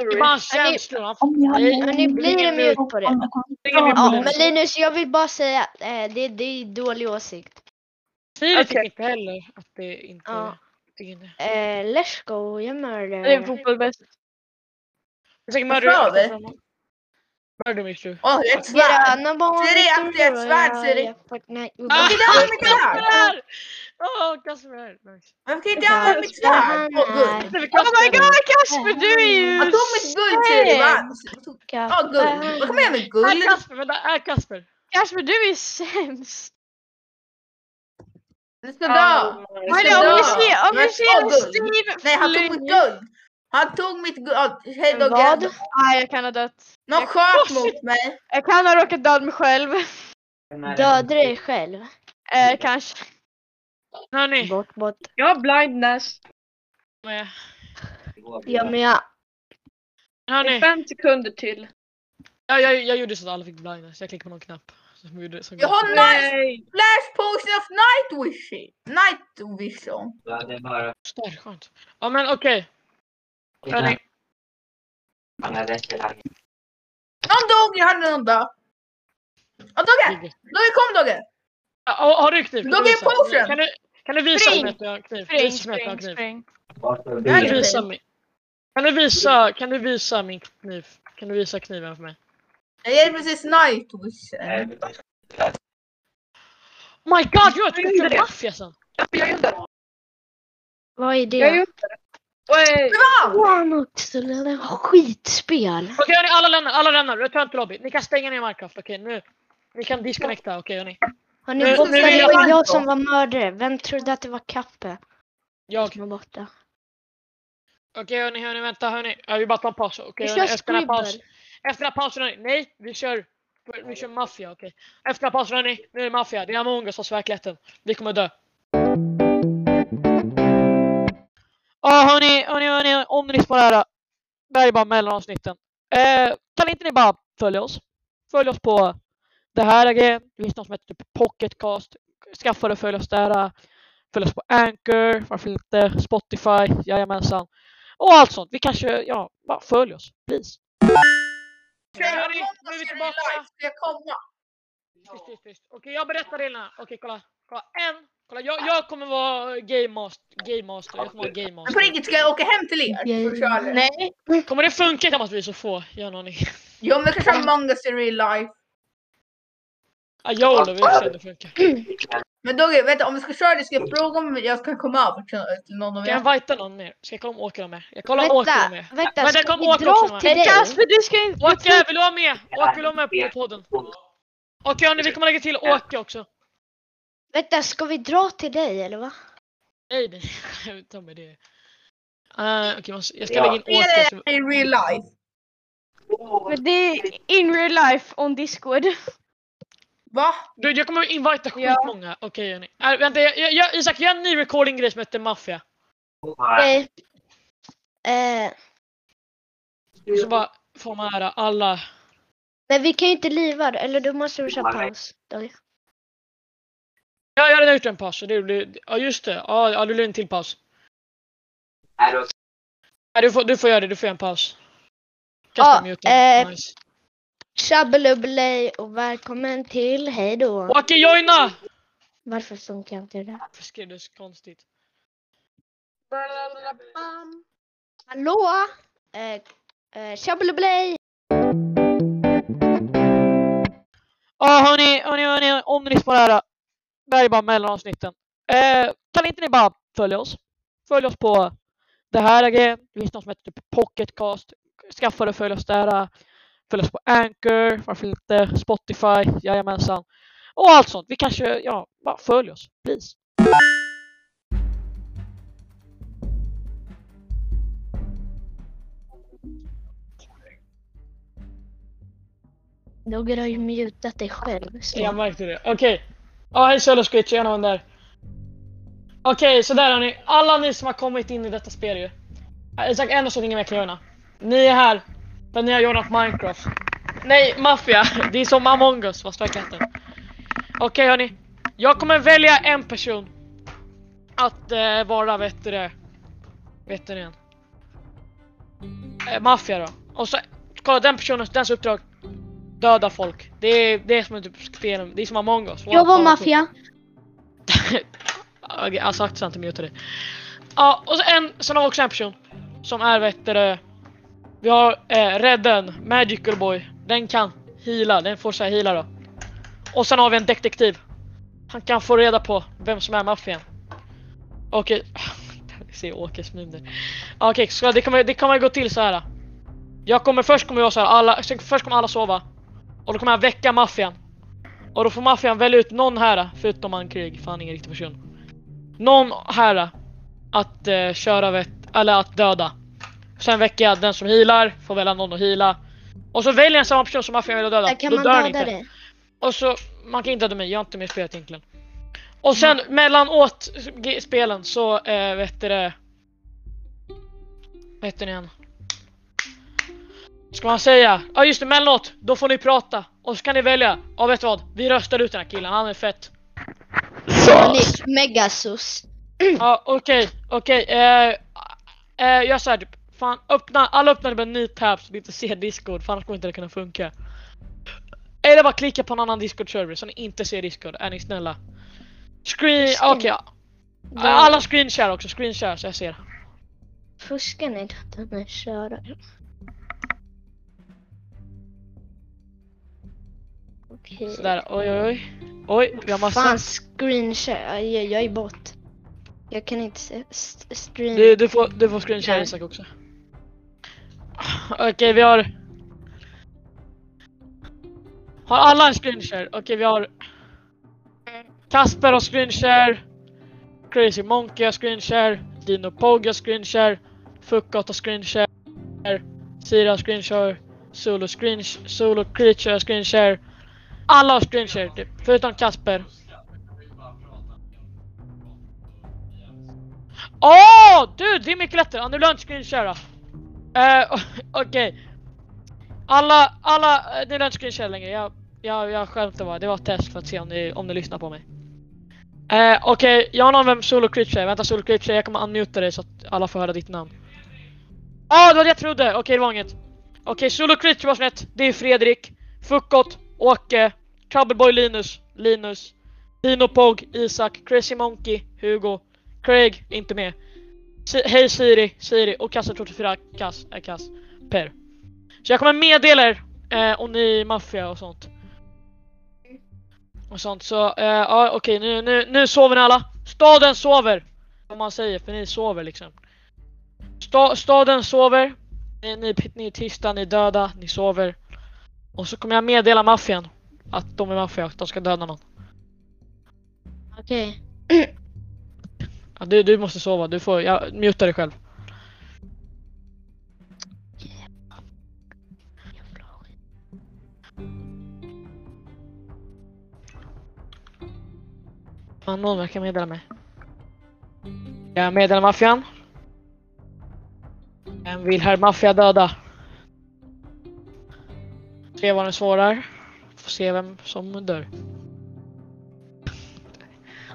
E: mystery.
A: bara känslor. Han får
D: Ja, nu blir det mute på det.
A: ingen mer
D: Ja,
A: på
D: men
A: det.
D: Linus, jag vill bara säga att eh, det, det är dålig åsikt.
A: Siri tycker
E: Okej.
A: inte heller att det inte...
D: Ja.
A: tycker inte.
D: Eh, let's go, jag mördar.
C: Det är fotboll bäst.
A: Jag tänker
B: Vad
A: murder-
B: sa vi?
A: Murder mystery.
B: Åh, det är ett svärd!
D: Gröna banor.
B: Ser du att det är ett svärd,
D: jag-
B: ser du?
D: jag- Fortnite-
A: Ah!
B: Varför kan jag använda mitt svärd?
A: Kasper! Åh, Kasper! Nice.
B: Varför kan jag inte använda mitt svärd? Åh, guld!
A: Det är väl
C: Oh
A: Kasper.
C: my god Kasper du är ju...
B: Jag tog mitt guld Siri, va? Ja, guld. Vad kommer jag med
A: Är
B: guld?
A: Kasper, vänta, är Kasper?
C: Kasper du är ju sämst.
B: Ni ska
E: Ah.
B: dö! Ni
C: Hörni
B: ska
C: om
B: dö!
C: vi ser, om vi
B: Jag
C: ser
B: sa guld!
C: Steve
B: Nej, han tog mitt
C: fly-
B: guld! Han tog mitt guld! Ja, Hej då,
D: Vad?
B: gud.
C: Nej jag kan ha dött.
B: Någon sköt mot mig!
C: Jag kan ha råkat döda mig själv.
D: Döda dig själv.
C: Eh, kanske.
A: Hörni,
D: Bort, bort.
E: Jag har blindness.
A: med.
D: Ja, men jag...
A: hörni.
E: Fem sekunder till.
A: Jag, jag, jag gjorde så att alla fick blindness. Jag klickade på någon knapp. Som gjorde, som
B: Jag har
A: gjorde-
B: nice flash potion of night vision! Night vision!
G: Det är bara
A: Där, skönt. Ja men okej. Hörni,
G: Han har rätt till det.
B: Någon dog, jag hade någon död! Ja, Dogge!
A: Gigi.
B: Dogge kom Dogge!
A: Ja, Har, har du kniv? Kan
B: Då
A: du
B: ger
A: visa?
B: potion.
A: Kan du, kan du visa
C: Spring.
A: mig att jag har kniv?
C: Spring,
A: Visa mig att jag har
C: spring,
A: kniv.
C: spring.
G: Varför
B: Jag
A: Kan
B: är
A: du
G: vill-
A: visa mig? Kan du visa, kan du visa min kniv? Kan du visa kniven för mig?
B: Jag ger precis night vision.
G: Eh,
A: Oh My god, jag tror jag
E: gjorde
A: kör
E: det.
A: maffia sen!
E: Jag gjorde det.
D: Vad är
E: Jag
D: det?
E: gjorde det. Oj.
D: Fan också, det där skitspel.
A: Okej hörni, alla lämnar, alla lämnar, return to lobby. Ni kan stänga ner Minecraft, okej nu. Ni kan disconnecta, okej hörni.
D: Har
A: Nu-
D: ni bort
A: nu
D: det
A: vill jag
D: var
B: ha en
D: jag
B: då.
D: som var mördare. Vem trodde att det var Kappe?
A: Jag,
D: Som var borta.
A: okej hörni, hörni, vänta hörni. Ja, vi bara tar en paus, okej
D: Vi
A: hörni.
D: kör
A: Efter den här
D: Scribble.
A: pausen, efter den här pausen hörni. Nej, vi kör Vi- Vi kör maffia, okej. Efter paus hörni, nu är det maffia. Det är Among Us, fast verkligheten. Vi kommer dö. Ja hörni, hörni, hörni, om ni lyssnar på det här. Det här är bara mellanavsnitten. Eh, kan inte ni bara följa oss? Följ oss på det här är grejen. Det finns något som heter typ Pocketcast. Skaffa det och följ oss där. Följ oss på Anchor, varför inte? Spotify, jajamensan. Och allt sånt. Vi kanske, ja, bara följ oss. Please.
B: Kväll
A: Hörni,
B: måndag
A: nu är vi
B: ska vi
A: tillbaka.
B: live, ska jag komma?
A: Tyst, tyst, tyst. Okej, jag berättar reglerna. Okej, kolla. Kolla, en. Kolla, jag, jag kommer vara game master. Game master. Jag kommer vara game
B: Men på
A: master.
B: riktigt, ska jag åka hem till er? och köra?
C: Nej.
A: Kommer det funka tillsammans vi så få? Jag har en aning.
B: Jo, men kanske Among us i real life.
A: Ja, jag håller vi får se om det funkar.
B: Men då, vänta, om vi ska köra det, ska jag fråga om jag kan komma över till- till någon av
A: Ska
B: er?
A: jag invita någon mer? Ska jag komma Åke med? Jag kollar Åke
D: Vänta,
A: med.
D: vänta,
A: Men det
D: ska
A: kom
D: vi
A: åka också,
D: dra
A: va?
D: till dig?
C: Casper Alltså, du ska inte...
A: Åke, vill du vara med? Åke, vill du vara med på podden? Okej hörni, vi kommer lägga till Åke också.
D: Vänta, ska vi dra till dig eller va?
A: Nej, nej. Jag tar med det. Eh, Okej, jag ska
G: Ja.
A: lägga in Åke. också.
B: I real life.
C: Men det är in real life on Discord.
B: Va?
A: Du, jag kommer invita
C: Ja.
A: skitmånga. Okej hörni. Äh, vänta, jag, jag, jag, Isak, jag har en ny recording-grej som heter Mafia.
D: Okej. Eh,
A: Och så bara får man höra alla.
D: men vi kan ju inte liva det, eller då måste vi köra paus. Då-
A: Ja, jag har redan gjort en paus. så Det blir, ja, just det. Ja, ja, du blir en till paus.
G: Är du
A: Ja, du, får, du får göra det, du får göra en paus. Kasper
D: Ja,
A: mutar.
D: eh,
A: nice.
D: Tjabbelubbelej och välkommen till hej då.
A: Åke, joina!
D: Varför funkar inte det där?
A: Varför skrev du så konstigt?
D: Hallå? Eh, eh, Tjabbelubbelej!
A: Ja hörni, hörni, hörni, om ni lyssnar på det här. Det här är bara mellanavsnitten. Eh, kan inte ni bara följa oss? Följ oss på det här är grejen. Det finns något som heter typ Pocketcast. Skaffa det och följ oss där. Följ oss på Anchor, varför inte? Spotify, jajamensan. Och allt sånt. Vi kanske, ja, bara följ oss. Please.
D: Dogger har ju mutat dig själv. Så.
A: Jag märkte det. Okej. Ja, hej Solo Squitch, jag är någon där. Okej, sådär hörni. Alla ni som har kommit in i detta spel ju. Äh, Isak, en sak ingen mer kan göra. Ni är här, för ni har joinat Minecraft. Nej, Mafia. Det är som Among Us, fast verkligheten. Okej hörni. Jag kommer välja en person. Att eh, vara, vet du det. Vet du det? Eh, Mafia då. Och så, kolla den personens, dens uppdrag döda folk. Det är det är som ett typ spel, det är som Among us.
D: Jag var
A: Wow,
D: maffia.
A: Okej, jag har sagt sant, muta det. Ja, och så en, sen har vi också en person. Som är vet du, det, Vi har eh, Redden, Magical Boy. Den kan heala, den får sig heala då. Och sen har vi en detektiv. Han kan få reda på vem som är maffian. Okej. Jag ser Åkes min där. Ja, Okej, så det kommer, det kommer gå till så här. Jag kommer först kommer jag så här, alla, sen- först kommer alla sova. Och då kommer jag väcka maffian. Och då får maffian välja ut någon här, förutom han Krieg, för han är ingen riktig person någon här att eh, köra vet, eller att döda. Sen väcker jag den som healar, får välja någon att heala. Och så väljer jag samma person som maffian vill döda.
D: Där kan
A: Då
D: man
A: dör den
D: döda
A: inte.
D: dig.
A: Och så, man kan inte döda mig, jag har inte med spelet egentligen. Och sen mellanåt g- spelen så, eh, vet du det... Vad heter ni igen? Ska man säga? Ja just det, mellanåt! Då får ni prata! Och så kan ni välja, ja vet du vad? Vi röstar ut den här killen, han är fett.
D: Han är megasus.
A: Ja, okej, okej. Eh, eh, jag säger typ, fan öppna, alla öppnar typ en ny tab så vi inte ser Discord för annars kommer inte det kunna funka. Eller bara klicka på en annan Discord-server så ni inte ser Discord, är ni snälla? Screen,
D: Fuska
A: okej.
D: inte.
A: ja. Alla screen share också, screen share så jag ser.
D: Fuskar ni inte att han är körare? Okej.
A: Sådär, oj oj oj. Oj, vi har massa.
D: Fan, screenshare. Jag, jag är bot. Jag kan inte se st- stream.
A: Du, du får, du får screen share Isak också. Okej, vi har... Har alla en screen share? Okej, vi har... Kasper har screen share. Crazy Monkey har screen share. Dino Pog har screen share. Fuckat har screen share. Siri har screen share. Solo, screen, solo Creature har screen share. Alla har screenshare typ, förutom Kasper. Åh! dude, det är mycket lättare. Ja, Nu vill jag inte screenshara. Uh, Okej. Alla, alla, eh, ni vill jag inte screenshara längre. Jag, jag, jag skämtar bara. Det var ett test för att se om ni, om ni lyssnar på mig. Eh, Okej, jag har någon vem Solo Creature är. Vänta Solo Creature, jag kommer unmuta dig så att alla får höra ditt namn. Ah, det var det jag trodde! Okej, det var inget. Okej, Solo Creature var snett. Det är Fredrik, Fuckot, Åke, Troubleboy Linus, Linus, Dinopog, Isak, Crazy Monkey, Hugo, Craig, inte med. Si- Hej Siri, Siri och Kassa34, Kass, är Kass, Per. Så jag kommer meddela er eh, om ni är maffia och sånt. Och sånt så, eh, ja okej nu, nu, nu sover ni alla. Staden sover! Om man säger, för ni sover liksom. Sta, staden sover. Ni, ni, ni är tysta, ni är döda, ni sover. Och så kommer jag meddela maffian att de är maffia, att de ska döda någon.
D: Okej.
A: Ja, du, du måste sova, du får, jag mutar dig själv. Fan, någon verkar meddela mig. Jag meddelar maffian. Vem vill herr maffia döda? Se vad den svarar. Får se vem som dör.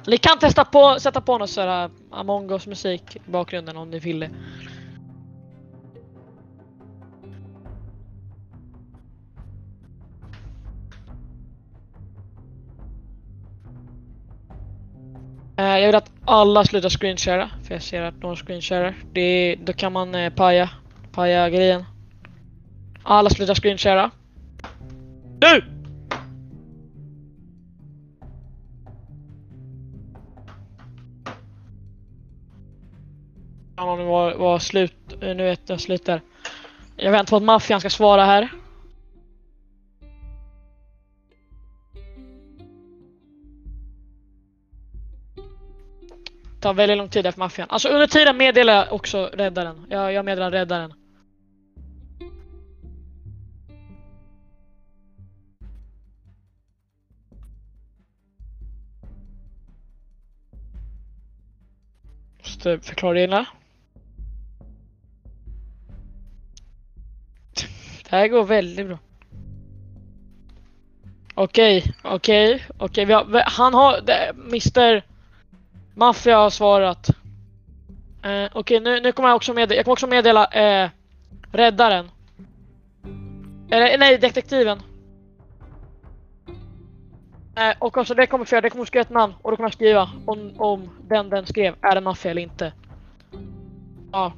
A: Ni kan testa på sätta på någon sån här Among us musik i bakgrunden om ni vill det. Eh, Jag vill att alla slutar screenshara, för jag ser att någon screensharar. Det är, då kan man eh, paja, paja grejen. Alla slutar screenshara. Nu! Jag har var, var slut, eh, nu vet jag slutar. Jag väntar på att maffian ska svara här. Det tar väldigt lång tid där för maffian. Alltså under tiden meddelar jag också räddaren. Jag, jag meddelar räddaren. Måste förklara reglerna. Det här går väldigt bra. Okej, okej, okej. vi har- vi- Han har... det- Mr. Mafia har svarat. Eh, okej, nu, nu kommer jag också meddela... Jag kommer också meddela eh, räddaren. Eller nej, detektiven. Eh, och alltså det kommer för det kommer skriva ett namn och då kommer jag skriva om, om den den skrev är en maffia eller inte. Ja.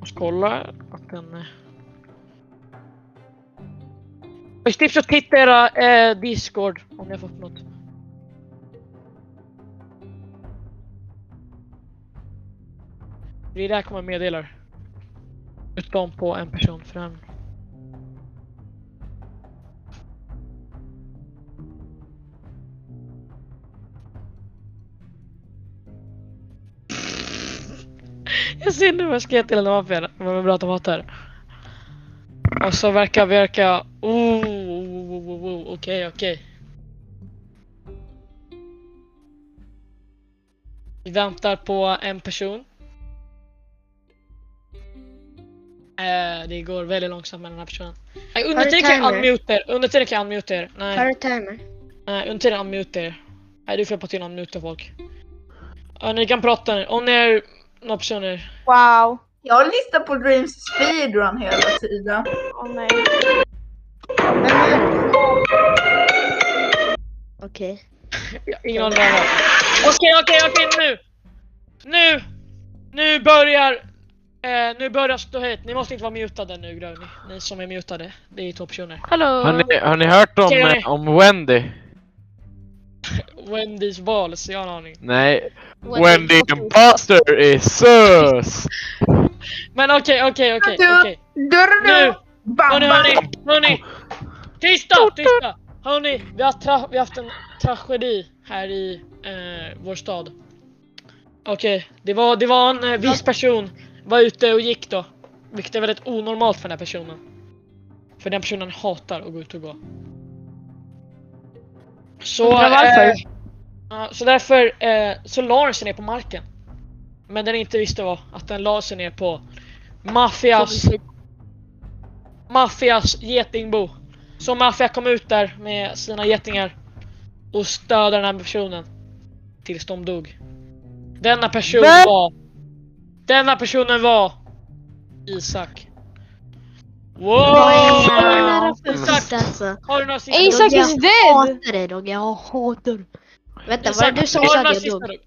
A: Jag ska kolla att den... eh. Jag ska tipsa och titta i era eh, discord om ni har fått något. Det är där jag kommer meddela. Utom på en person för den. Jag ser nu vad jag ska ge till en maffia. Vad vi pratar om hat här. Och så verkar, verkar... Oh, oh, oh, oh, oh, okej, okej. Vi väntar på en person. Eh, det går väldigt långsamt med den här personen. Nej, under
D: Har du
A: tiden kan jag
D: timer?
A: unmute er. Under tiden kan jag unmute er. Nej.
D: Har du timer?
A: Nej, under tiden unmute er. Nej, du får hjälpa till att unmuta folk. Ja, ni kan prata nu. Om ni är några personer.
C: Wow.
B: Jag lyssnar på Dreams speedrun hela tiden.
C: Åh nej.
D: Okej.
A: Ja, Ingen aning vad det var. Okej, okej, okej nu! Nu! Nu börjar... Eh, nu börjar ståhejt. Ni måste inte vara mutade nu grabbar. Ni, ni som är mutade. Det är två personer.
C: Hallå.
H: Har ni, har ni hört om,
A: Okej.
H: eh, om Wendy?
A: Wendys vals, jag har en aning.
H: Nej, Wendy Buster is sus!
A: Men okej, okej, okej,
B: Du-
A: okej.
B: Dörren
A: Nu!
B: bam,
A: Hörni,
B: bam.
A: hörni, hörni! Tysta, tysta! Hörni, vi har, tra- vi har haft en tragedi här i eh, vår stad. Okej, det, var, det var en eh, viss person var ute och gick då. Vilket är väldigt onormalt för den här personen. För den personen hatar att gå ut och gå. Så,
C: Undrar varför.
A: eh, ja, så därför eh, så la den sig ner på marken. Men den inte visste var att den la sig ner på maffias, maffias getingbo. Så maffia kom ut där med sina getingar och stödde den här personen. Tills de dog. Denna person
H: Va?
A: var... Denna personen var... Isak. Wow!
D: nära
A: Isak,
D: först alltså.
A: har du några sista ord?
C: Isak is
D: Jag
C: dead!
D: hatar dig Dogge, jag hatar dig. Vänta, var
A: Isak,
D: det du som
A: har
D: sa
A: några
D: det
A: sista
D: Dogge?
A: ord?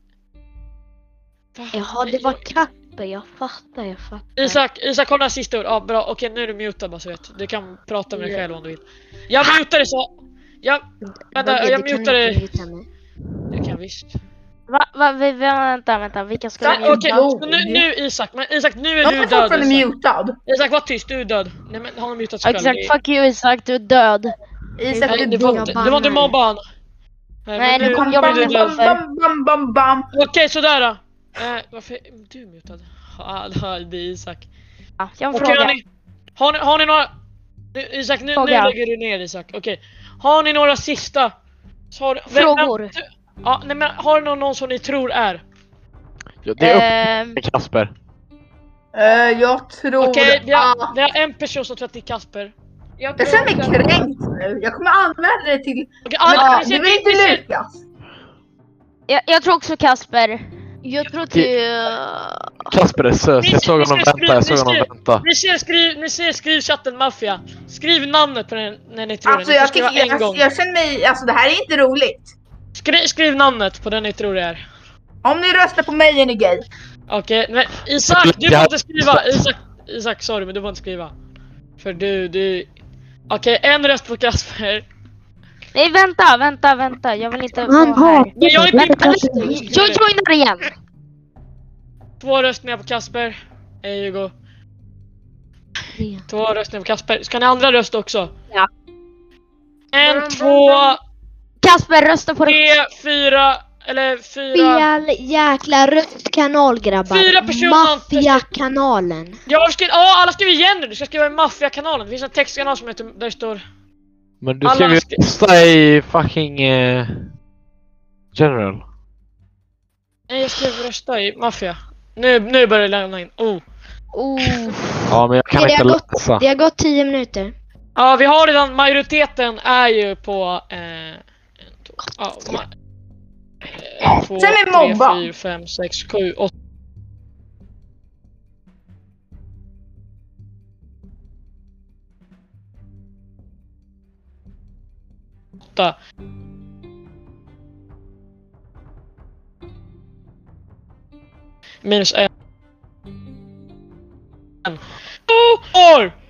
A: Va?
D: Jaha, det var Kappe, jag fattar, jag fattar.
A: Isak, Isak har några sista ord. Ja, bra. Okej, nu är du mutad bara så du vet. Du kan prata med dig själv om du vill. Jag mutade så... Jag... Vänta,
D: Dogge,
A: jag
D: du kan
A: mutar
D: inte
A: dig.
D: muta mig.
A: Jag kan visst.
I: Va, va, vi- vänta, vänta, vilka ska
A: Tack,
I: vi
A: Okej,
I: mjuta?
A: så nu, nu Isak. Men Isak, nu är
B: Jag
A: du
B: är
A: död. alltså.
B: fortfarande
A: Isak.
B: mutad.
A: Isak, var tyst. Du är död. Nej men han har mutat sig själv.
I: Exakt, fuck you Isak, du är död.
B: Isak,
A: Nej,
B: du
A: det
B: dog.
A: var
D: jag
A: inte-
D: bannar
A: det var inte
D: dig.
A: mobba han. Nej,
I: Nej,
A: men
I: det
A: nu-
I: var
B: Bam,
A: nu
I: jag
A: är
B: bam,
A: du
I: med.
A: död. alltså.
B: bam, bam, bam, bam, bam.
A: Okej, sådär då. Eh, varför är du mutad? Ah, det är Isak.
I: Ja, jag har en
A: Okej,
I: fråga.
A: hörni. Har ni, har ni några... Nu, Isak, nu, nu
I: Fråga.
A: lägger du ner Isak. Okej. Har ni några sista... så Har, vem-
D: Frågor.
A: vem- ja, nej, men har ni någon, någon som ni tror är?
H: Ja, det
A: Eh.
H: är
I: Ehm,
H: upp till Kasper.
B: Eh, jag tror
A: Okej, vi, har-
B: att...
A: vi har en person som tror att det är Kasper.
E: Jag
B: Jag
E: tror
B: känner mig
E: också-
B: kränkt nu. Jag kommer anmäla dig till...
A: Okej,
B: Men,
A: alla,
B: ah,
A: vi
B: det
A: ser-
B: var
A: vi ser-
B: inte Lukas.
I: jag, jag tror också Kasper.
C: Jag tror till...
H: Kasper är sös. Jag såg honom vänta, jag såg honom vänta.
A: Ni ser, skriv, ni ser skrivchatten Mafia. Skriv namnet på den när ni tror
B: Alltså
A: det. Ni får
B: jag,
A: skriva
B: tycker,
A: en gång.
B: jag, jag känner mig... Alltså det här är inte roligt.
A: Skri, skriv namnet på den ni tror det är.
B: Om ni röstar på mig är ni gay.
A: Okej, men Isak, du får inte skriva! Isak, Isak, sorry men du får inte skriva. För du, du... Okej, en röst på Kasper.
I: Nej vänta, vänta, vänta, jag vill inte
D: Man
I: vara här.
A: Men jag är typ- inte
I: Vänta, vänta,
A: Kasper.
I: jo- joinar igen!
A: Två röstningar på Kasper. Hej Hugo. Två röstningar på Kasper. Ska ni ha andra röst också?
I: Ja.
A: En, två,
I: Kasper rösta på det.
A: tre, fyra, eller fyra.
D: Fel jäkla röstkanal grabbar.
A: Fyra personer.
D: Maffiakanalen.
A: Jag har skrivit, ja alla skriver igen nu! Du ska skriva i Mafia-kanalen. Det finns en textkanal som heter, där det står...
H: Men du
A: Alla
H: ska ju
A: ska-
H: rösta i fucking... eh, general.
A: Nej jag skrev rösta i Mafia. Nu, nu börjar det lämna in. Oh.
D: Oh,
H: Ja, men jag kan
D: Är det
H: inte
D: gott?
H: läsa.
D: det har gått tio minuter.
A: Ja, vi har redan, majoriteten är ju på... Eh, en, två, ja, ma- eh, två,
B: Sen är mobba.
A: tre, fyra, fem, sex, sju, åtta. Åtta. Minus en. En. Två år!